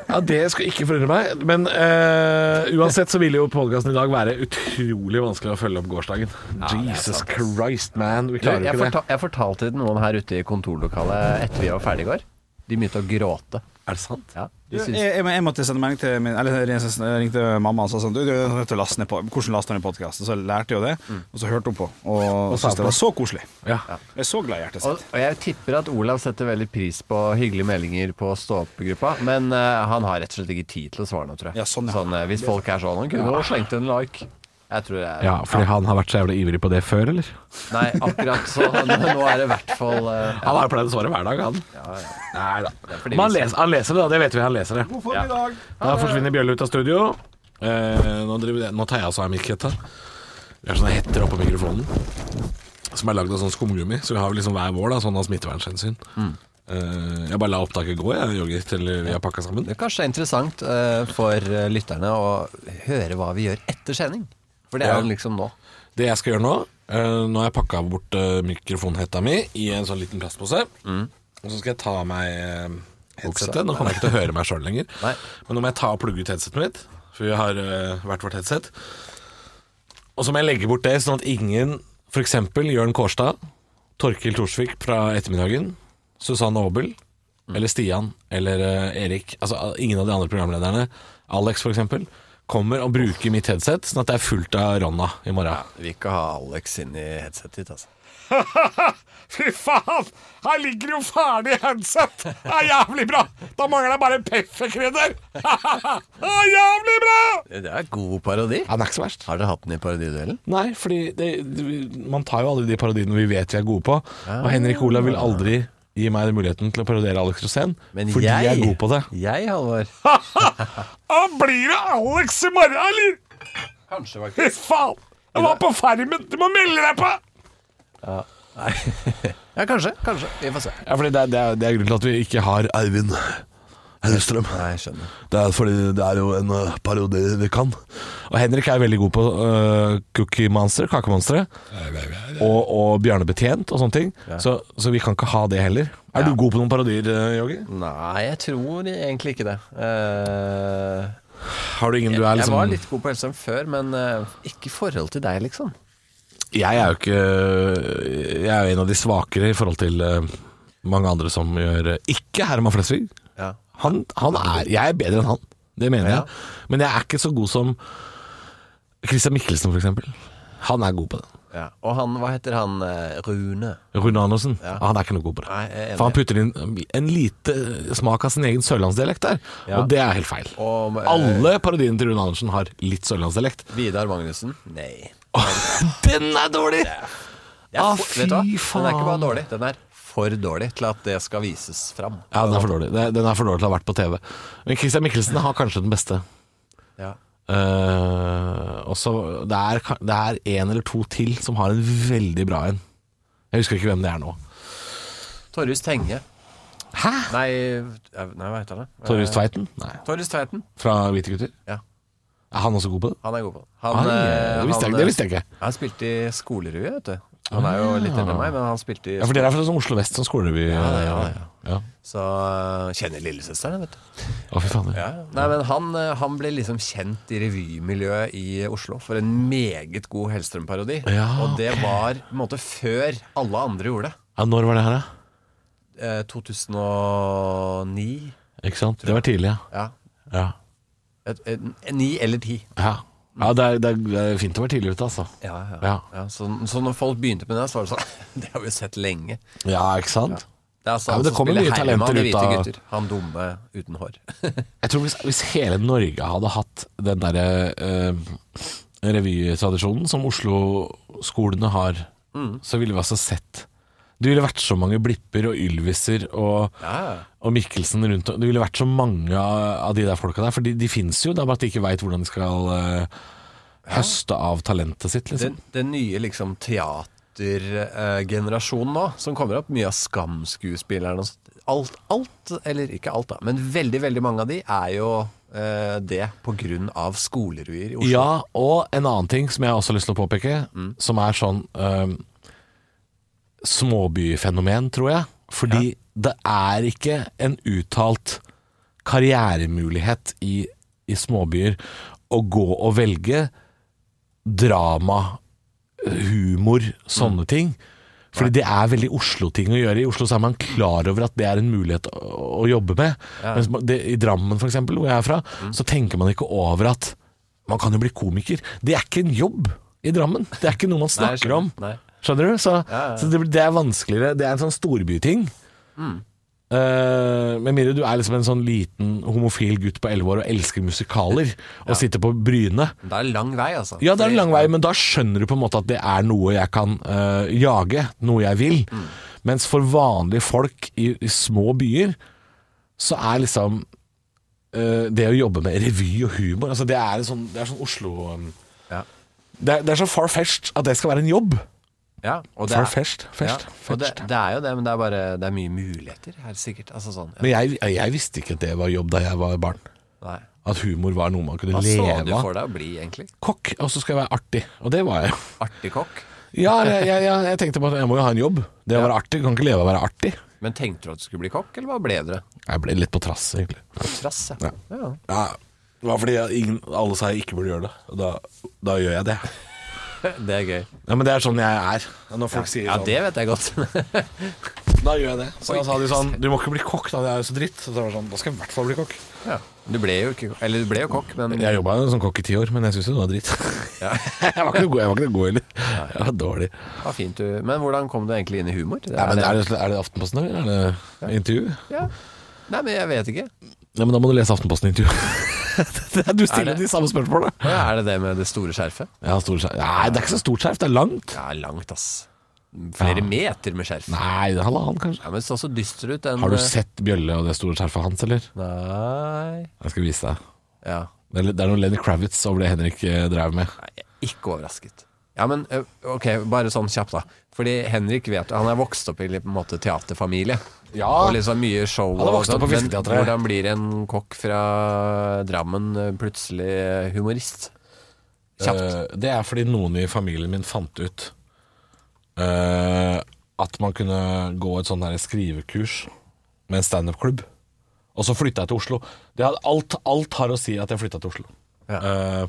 Ja, Det skal ikke forundre meg, men eh, uansett så vil jo podkasten i dag være utrolig vanskelig å følge opp gårsdagen. Jesus Christ, man. Vi
Du,
klarer
jeg,
jo ikke det.
fortal, jeg fortalte til noen her ute i kontorlokalet etter vi var ferdige i går. De begynte å gråte.
Er det sant?
Ja, de
Jeg,
syns-
jeg, jeg måtte sende melding til min, Eller jeg ringte mamma og sa sånn du, du, er nødt til å laste ned på, Hvordan laster du ned podkasten? Så lærte jeg jo det, og så hørte hun på. Og,
sa
syntes
på.
det var så koselig.
Ja.
Jeg er så glad i hjertet
Og,
sitt.
og jeg tipper at Olav setter veldig pris på hyggelige meldinger på stå-opp-gruppa, men eh, han har rett og slett ikke tid til å svare nå, tror jeg. Sånn, eh, hvis folk er sånn Han kunne jo slengt en like. Jeg tror jeg
Ja, fordi han har vært så jævlig ivrig på det før, eller?
Nei, akkurat så. Nå er det i hvert fall eh, ja.
Han har jo pleid å svare hver dag, han.
Ja, ja.
Nei da.
Det er fordi
Men han
vi-
leser, han leser det, da. Det vet vi. Han leser det.
formiddag.
Da forsvinner Bjølle ut av studio. Eh, nå, driver, jeg- nå tar jeg altså av mikkhetta. Vi har sånne hetter oppå mikrofonen som er lagd av sånn skumgummi. Så vi har liksom hver vår, da, sånn av smittevernhensyn. Eh, jeg bare la opptaket gå, jeg, Jogger, til vi har pakka sammen.
Det er kanskje interessant eh, for eh, lytterne å høre hva vi gjør etter sending. For det er
Ja.
jo liksom nå.
Det jeg skal gjøre nå eh, Nå har jeg pakka bort eh, mikrofonhetta mi i en sånn liten plastpose. Og så skal jeg ta av meg eh, headsetet. Nå kommer jeg ikke til å høre meg sjøl lenger. Men nå må jeg ta og plugge ut headsetet mitt, for vi har eh, hvert vårt headset. Og så må jeg legge bort det, sånn at ingen, f.eks. Jørn Kårstad, Torkil Torsvik fra ettermiddagen, Susanne Aabel eller Stian eller eh, Erik Altså ingen av de andre programlederne, Alex f.eks., kommer og bruker mitt headset, sånn at det er fullt av Ronna i morgen.
vi ikke ha Alex inn i headsetet ditt, altså.
Fy faen! Her ligger jo ferdig headset! Det er jævlig bra! Da mangler jeg bare pepperkrydder! Det er jævlig bra!
Det er en god parodi.
Han er ikke så verst.
Har dere hatt den i parodiduellen?
Nei, fordi det, det- man tar jo aldri de parodiene vi vet vi er gode på. Og Henrik Olav vil aldri gi meg den muligheten til å parodiere Alex Rosén,
Men
fordi jeg,
jeg-
er god på det.
Jeg, Halvor.
Da blir det Alex i morgen, eller?
Kanskje,
Fy faen! Jeg var på Farmen! Du må melde deg på!
Ja. Nei. ja, kanskje. Kanskje. Vi får se.
Ja, fordi det, er- det, er- det er grunnen til at vi ikke har Eivind Hellstrøm.
Nei, jeg skjønner.
Det er fordi det er jo en eh, parodi vi kan. Og Henrik er veldig god på eh, Cookie Monster, Kakemonstre, og, og Bjarne Betjent og sånne ting. Så, så vi kan ikke ha det heller. Er du god på noen parodier, eh, Joggi?
Nei, jeg tror egentlig ikke det. Eh,
Har du ingen du er
Jeg
liksom
var litt god på Hellstrøm før, men eh, ikke i forhold til deg, liksom.
Jeg er jo ikke Jeg er jo en av de svakere i forhold til eh, mange andre som gjør eh, Ikke Herman Flesvig.
Ja.
Han, han er Jeg er bedre enn han. Det mener jeg. Men jeg er ikke så god som Christian Michelsen, f.eks. Han er god på det.
Ja. Og han, hva heter han? eh, Rune?
Rune Andersen. Ah, Han er ikke noe god på det.
Nei, jeg er enig.
For han putter inn um, en lite eh, smak av sin egen sørlandsdialekt der,
Ja.
og det er helt feil.
Og, eh,
Alle parodiene til Rune Andersen har litt sørlandsdialekt.
Vidar Magnussen? Nei.
Den er dårlig!
Det er
Ah,
for-
fy
vet du hva? Den er ikke bare
faen.
dårlig, den er for dårlig til at det skal vises fram.
Ja, den er for dårlig. Den er for dårlig til å ha vært på TV. Men Christian Michelsen har kanskje den beste.
Ja.
Eh, og så- det, er ka- det er en eller to til som har en veldig bra en. Jeg husker ikke hvem det er nå.
Torjus Tenge.
Hæ?
Nei, eh, nei hva heter han? Eh,
Torjus Tveiten? Nei.
Torjus Tveiten.
Fra Hvite gutter?
Ja.
Er han også god på det?
Han er god på det.
Ai,
eh,
det visste jeg ikke-
eh,
det visste jeg ikke.
Han spilte i skolerevy, vet du. Han er jo litt eldre enn meg, men han spilte i
Ja, for dere er fra sånn Oslo vest, sånn skolerevy?
Ja, ja, ja,
ja.
Så eh, kjenner lillesøsteren, vet du.
Å, fy faen.
Ja, ja. Nei, men han, eh, han ble liksom kjent i revymiljøet i Oslo for en meget god Hellstrøm-parodi.
Ja,
og det var på en måte før alle andre gjorde det.
Ja, når var det her, da?
Eh, 2009.
Ikke sant? Det var tidlig, ja.
Ja.
Ja,
Et- en- en Ni eller ti.
ja. ja det, er, det er- det er fint å være tidlig ute, altså.
Ja, ja.
Ja.
Ja, så, så når folk begynte med det, så var det sånn Det har vi jo sett lenge.
Ja, ikke sant?
Det er altså
Ja, men
han
det
som
kommer
spiller
mye talenter
Herman
ut
i Hvite
av-
gutter. Han dumme uten hår.
Jeg tror hvis, hvis hele Norge hadde hatt den derre eh, revytradisjonen som Oslo-skolene har,
Mm.
så ville vi altså sett Det ville vært så mange Blipper og Ylviser og, og Mikkelsen rundt og- Det ville vært så mange av, av de der folka der, for de, de fins jo, det er bare at de ikke veit hvordan de skal eh, høste av talentet sitt, liksom.
Den, den nye liksom teatergenerasjonen nå, som kommer opp, mye av skamskuespillerne og sånt. Alt, alt, eller ikke alt da, men veldig, veldig mange av de er jo eh, det pga. skoleruer i Oslo.
Ja, og en annen ting som jeg også har lyst til å påpeke, som er sånn øhm, småbyfenomen, tror jeg. Fordi det er ikke en uttalt karrieremulighet i, i småbyer å gå og velge drama, humor,
Mm.
sånne ting. Fordi det er veldig Oslo-ting å gjøre. I Oslo så er man klar over at det er en mulighet å, å jobbe med.
Ja. Mm.
Mens man- det, I Drammen, f.eks., hvor jeg er fra, så tenker man ikke over at man kan jo bli komiker. Det er ikke en jobb i Drammen. Det er ikke noe man
Nei, jeg
snakker om.
skjønner. Nei.
Skjønner du? Så,
Ja, ja.
så det, blir- det er vanskeligere. Det er en sånn storbyting.
Mm.
Eh, med mindre du er liksom en sånn liten homofil gutt på 11 år og elsker musikaler, og sitter på Bryne.
Det er lang vei, altså.
Ja, det er en lang vei, men da skjønner du på en måte at det er noe jeg kan øh, jage, noe jeg vil.
Mm.
Mens for vanlige folk i, i små byer, så er liksom øh, det å jobbe med revy og humor altså Det er en sånn, det er sånn Oslo øhm, det, er, det er så far-fetched at det skal være en jobb.
Ja, og det er,
Far-fetched. fetched,
Ja, og det, det er jo det, men det er bare Det er mye muligheter her, sikkert. Altså sånn. Ja.
Men jeg, jeg visste ikke at det var jobb da jeg var barn.
Nei.
At humor var noe man kunne
Hva
leve
så
av.
du for deg å bli, egentlig?
Kokk, og så skal jeg være artig. Og det var jeg jo.
Artig kokk?
Ja, jeg, jeg, jeg, jeg tenkte på at jeg må jo ha en jobb. Det å være artig, kan ikke leve av å være artig.
Men tenkte du at du skulle bli kokk, eller hva ble dere?
Jeg ble litt på trass, egentlig.
Trass, ja.
Ja.
ja.
Ja, det var fordi jeg, ingen, alle sa jeg ikke burde gjøre det, og da, da gjør jeg det.
Det er gøy.
Ja, Men det er sånn jeg er. Og Når folk
Ja.
sier
Ja,
sånn,
det vet jeg godt.
da gjør jeg det. Så da sa de sånn Du må ikke bli kokk, da. Det er jo så dritt. Så det var sånn, da skal jeg i hvert fall bli kokk.
ja. Du ble jo ikke Eller du ble jo kokk, men
Jeg jobba som kokk i ti år, men jeg syntes det var dritt.
Ja.
jeg var ikke noe god, jeg var ikke noe god heller. Jeg var dårlig.
Ja, fint, du. Men hvordan kom du egentlig inn i humor? Det
Nei, men er, det, er det Aftenposten, eller er det intervju?
Ja. Nei, men jeg vet ikke.
Ja, men da må du lese Aftenposten-intervju. du
Er
stiller
det-
de samme spørsmålene.
Å Ja, er det det med det store skjerfet?
Ja, stor skjerf. Nei, det er ikke så stort skjerf, det er langt.
Ja, langt, ass. Flere
Ja.
meter med skjerf.
Nei, det er halvannen, kanskje.
Ja, men det så så dyster ut. Den, eh,
Har du sett Bjølle og det store skjerfet hans, eller?
Nei
Jeg skal vise deg.
Ja.
Det er, det er noe Lenny Kravitz over det Henrik eh, drev med.
Ikke overrasket. Ja, men ø, ok, bare sånn kjapt, da. Fordi Henrik vet Han er vokst opp i litt, på en måte teaterfamilie.
Ja.
Og liksom mye show.
Han er vokst
og
opp på
sånn,
Fisketeatret.
Men hvordan blir en kokk fra Drammen ø, plutselig eh, humorist? Kjapt.
Eh, det er fordi noen i familien min fant ut eh, at man kunne gå et sånn her skrivekurs med en standup-klubb. Og så flytta jeg til Oslo. Det hadde, alt, alt har å si at jeg flytta til Oslo. Eh,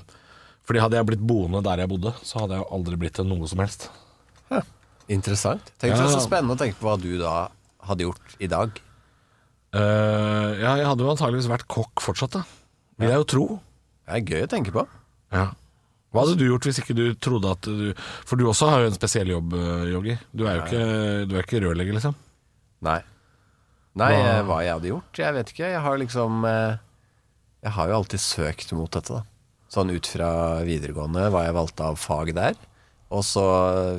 fordi hadde jeg blitt boende der jeg bodde, så hadde jeg jo aldri blitt til noe som helst.
Interessant. Tenk så,
Ja.
så spennende å tenke på hva du da hadde gjort i dag.
Eh, ja, jeg hadde jo antageligvis vært kokk fortsatt, da. Vil jeg jo tro.
Det er gøy å tenke på.
Ja. Hva hadde du gjort hvis ikke du trodde at du For du også har jo en spesiell jobb, eh, Yogi. Du er jo ikke, du er ikke rørlegger, liksom.
Nei. Nei,
Hva-
eh, hva jeg hadde gjort? Jeg vet ikke. Jeg har liksom eh, Jeg har jo alltid søkt mot dette, da. Sånn ut fra videregående, hva jeg valgte av fag der. Og så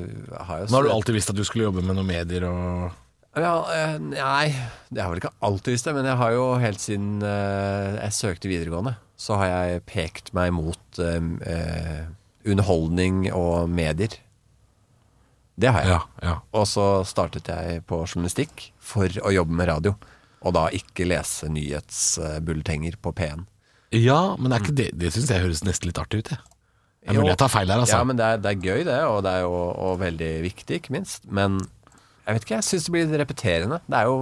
eh, har jeg
Nå har du alltid visst at du skulle jobbe med noen medier og
ja, eh, Nei, jeg har vel ikke alltid visst det, men jeg har jo helt siden eh, jeg søkte videregående, så har jeg pekt meg mot eh, eh, underholdning og medier. Det har jeg. Og så startet jeg på journalistikk for å jobbe med radio. Og da ikke lese nyhetsbulletenger på P1.
Ja, men det, er ikke det, det syns jeg høres nesten litt artig ut, jeg. Det er
Jo,
mulig jeg tar feil her, altså.
Ja, men det er, det er gøy, det, og det er jo og veldig viktig, ikke minst. Men jeg vet ikke, jeg syns det blir litt repeterende. Det er jo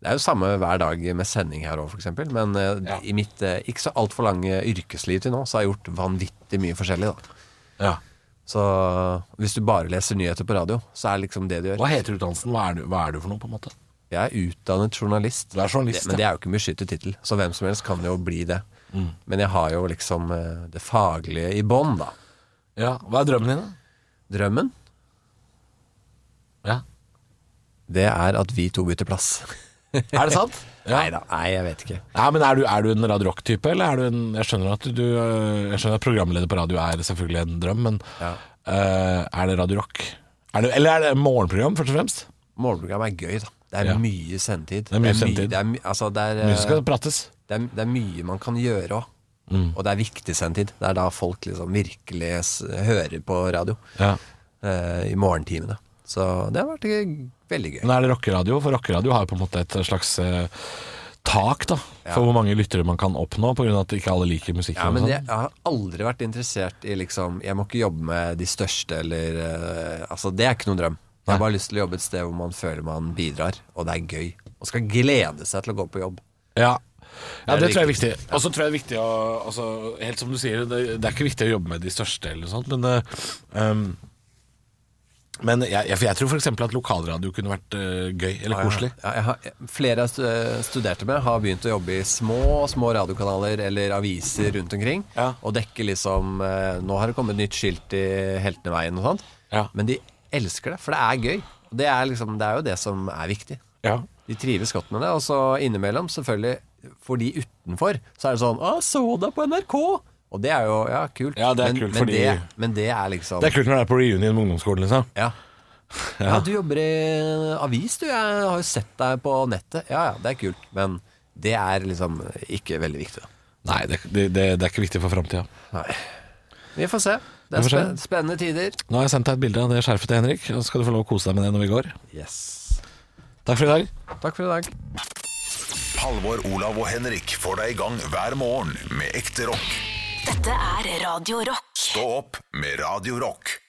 det er jo samme hver dag med sending her òg, f.eks. Men eh, i mitt eh, ikke så altfor lange yrkesliv til nå, så har jeg gjort vanvittig mye forskjellig, da.
Ja.
Så hvis du bare leser nyheter på radio, så er liksom det du gjør.
Hva heter utdannelsen? Hva er, du, hva er du for noe, på en måte?
Jeg er utdannet journalist.
journalist,
det, men
ja.
det er jo ikke beskyttet tittel, så hvem som helst kan jo bli det. Mm. Men jeg har jo liksom eh, det faglige i bånn, da.
Ja, Hva er drømmen din, da?
Drømmen,
Ja.
det er at vi to bytter plass.
Er det sant?
Nei da, nei, jeg vet ikke.
Ja, men Er du, er du en Radio Rock-type, eller er du en Jeg skjønner at du øh, Jeg skjønner at programleder på radio er selvfølgelig en drøm, men øh, er det Radio Rock? Er det, eller er det morgenprogram, først og fremst?
Morgenprogram er gøy, da. Det er
Ja.
mye sendetid.
Det er mye sendetid.
Det er, my- altså, det er, eh,
Mye som skal prates.
Det er, det er mye man kan gjøre òg.
Mm.
Og det er viktig sendetid. Det er da folk liksom virkelig s hører på radio.
Ja.
Eh, I morgentimene. Så det har vært eh, veldig gøy.
Men er det rockeradio? For rockeradio har jo på en måte et slags eh, tak da for hvor mange lyttere man kan oppnå, pga. at ikke alle liker musikken.
Ja,
og
men
sånn.
jeg, jeg har aldri vært interessert i liksom Jeg må ikke jobbe med de største eller eh, Altså, det er ikke noen drøm. Jeg har bare lyst til å jobbe et sted hvor man føler man bidrar, og det er gøy. Og skal glede seg til å gå på jobb.
Ja. Ja,
Det er
det tror jeg er
viktig.
viktig. Og så tror jeg det er viktig å altså, Helt som du sier, det, det er ikke viktig å jobbe med de største, eller noe sånt, men eh, um, men jeg, jeg, for jeg tror f.eks. at lokalradio kunne vært eh, gøy eller
Ja, ja.
koselig.
Ja, jeg har, flere jeg stu- studerte med, har begynt å jobbe i små små radiokanaler eller aviser rundt omkring. Og dekke liksom eh, Nå har det kommet nytt skilt i Helteneveien og sånt. Men de elsker det, for det er gøy. Og Det er, liksom, det er jo det som er viktig. De trives godt med det. Og så innimellom, selvfølgelig, for de utenfor, så er det sånn Å, så deg på NRK! Og det er jo ja, kult.
Ja, det er
men,
kult
men,
fordi-
det, men det er liksom
Det er kult når det er på reunion med ungdomsskolen, liksom.
Ja. Ja. du jobber i eh, avis, du. Jeg har jo sett deg på nettet. Ja, ja, det er kult. Men det er liksom ikke veldig viktig. da.
Nei, det, det, det, det er ikke viktig for framtida.
Vi får se. Det
Vi
er
får se.
spen spennende tider.
Nå har jeg sendt deg et bilde av det skjerfet til Henrik, og så skal du få lov å kose deg med det når vi går. Takk for i dag.
Takk for i dag.
Halvor, Olav og Henrik får deg i gang hver morgen med ekte rock.
Dette er Radio Rock.
Stå opp med Radio Rock.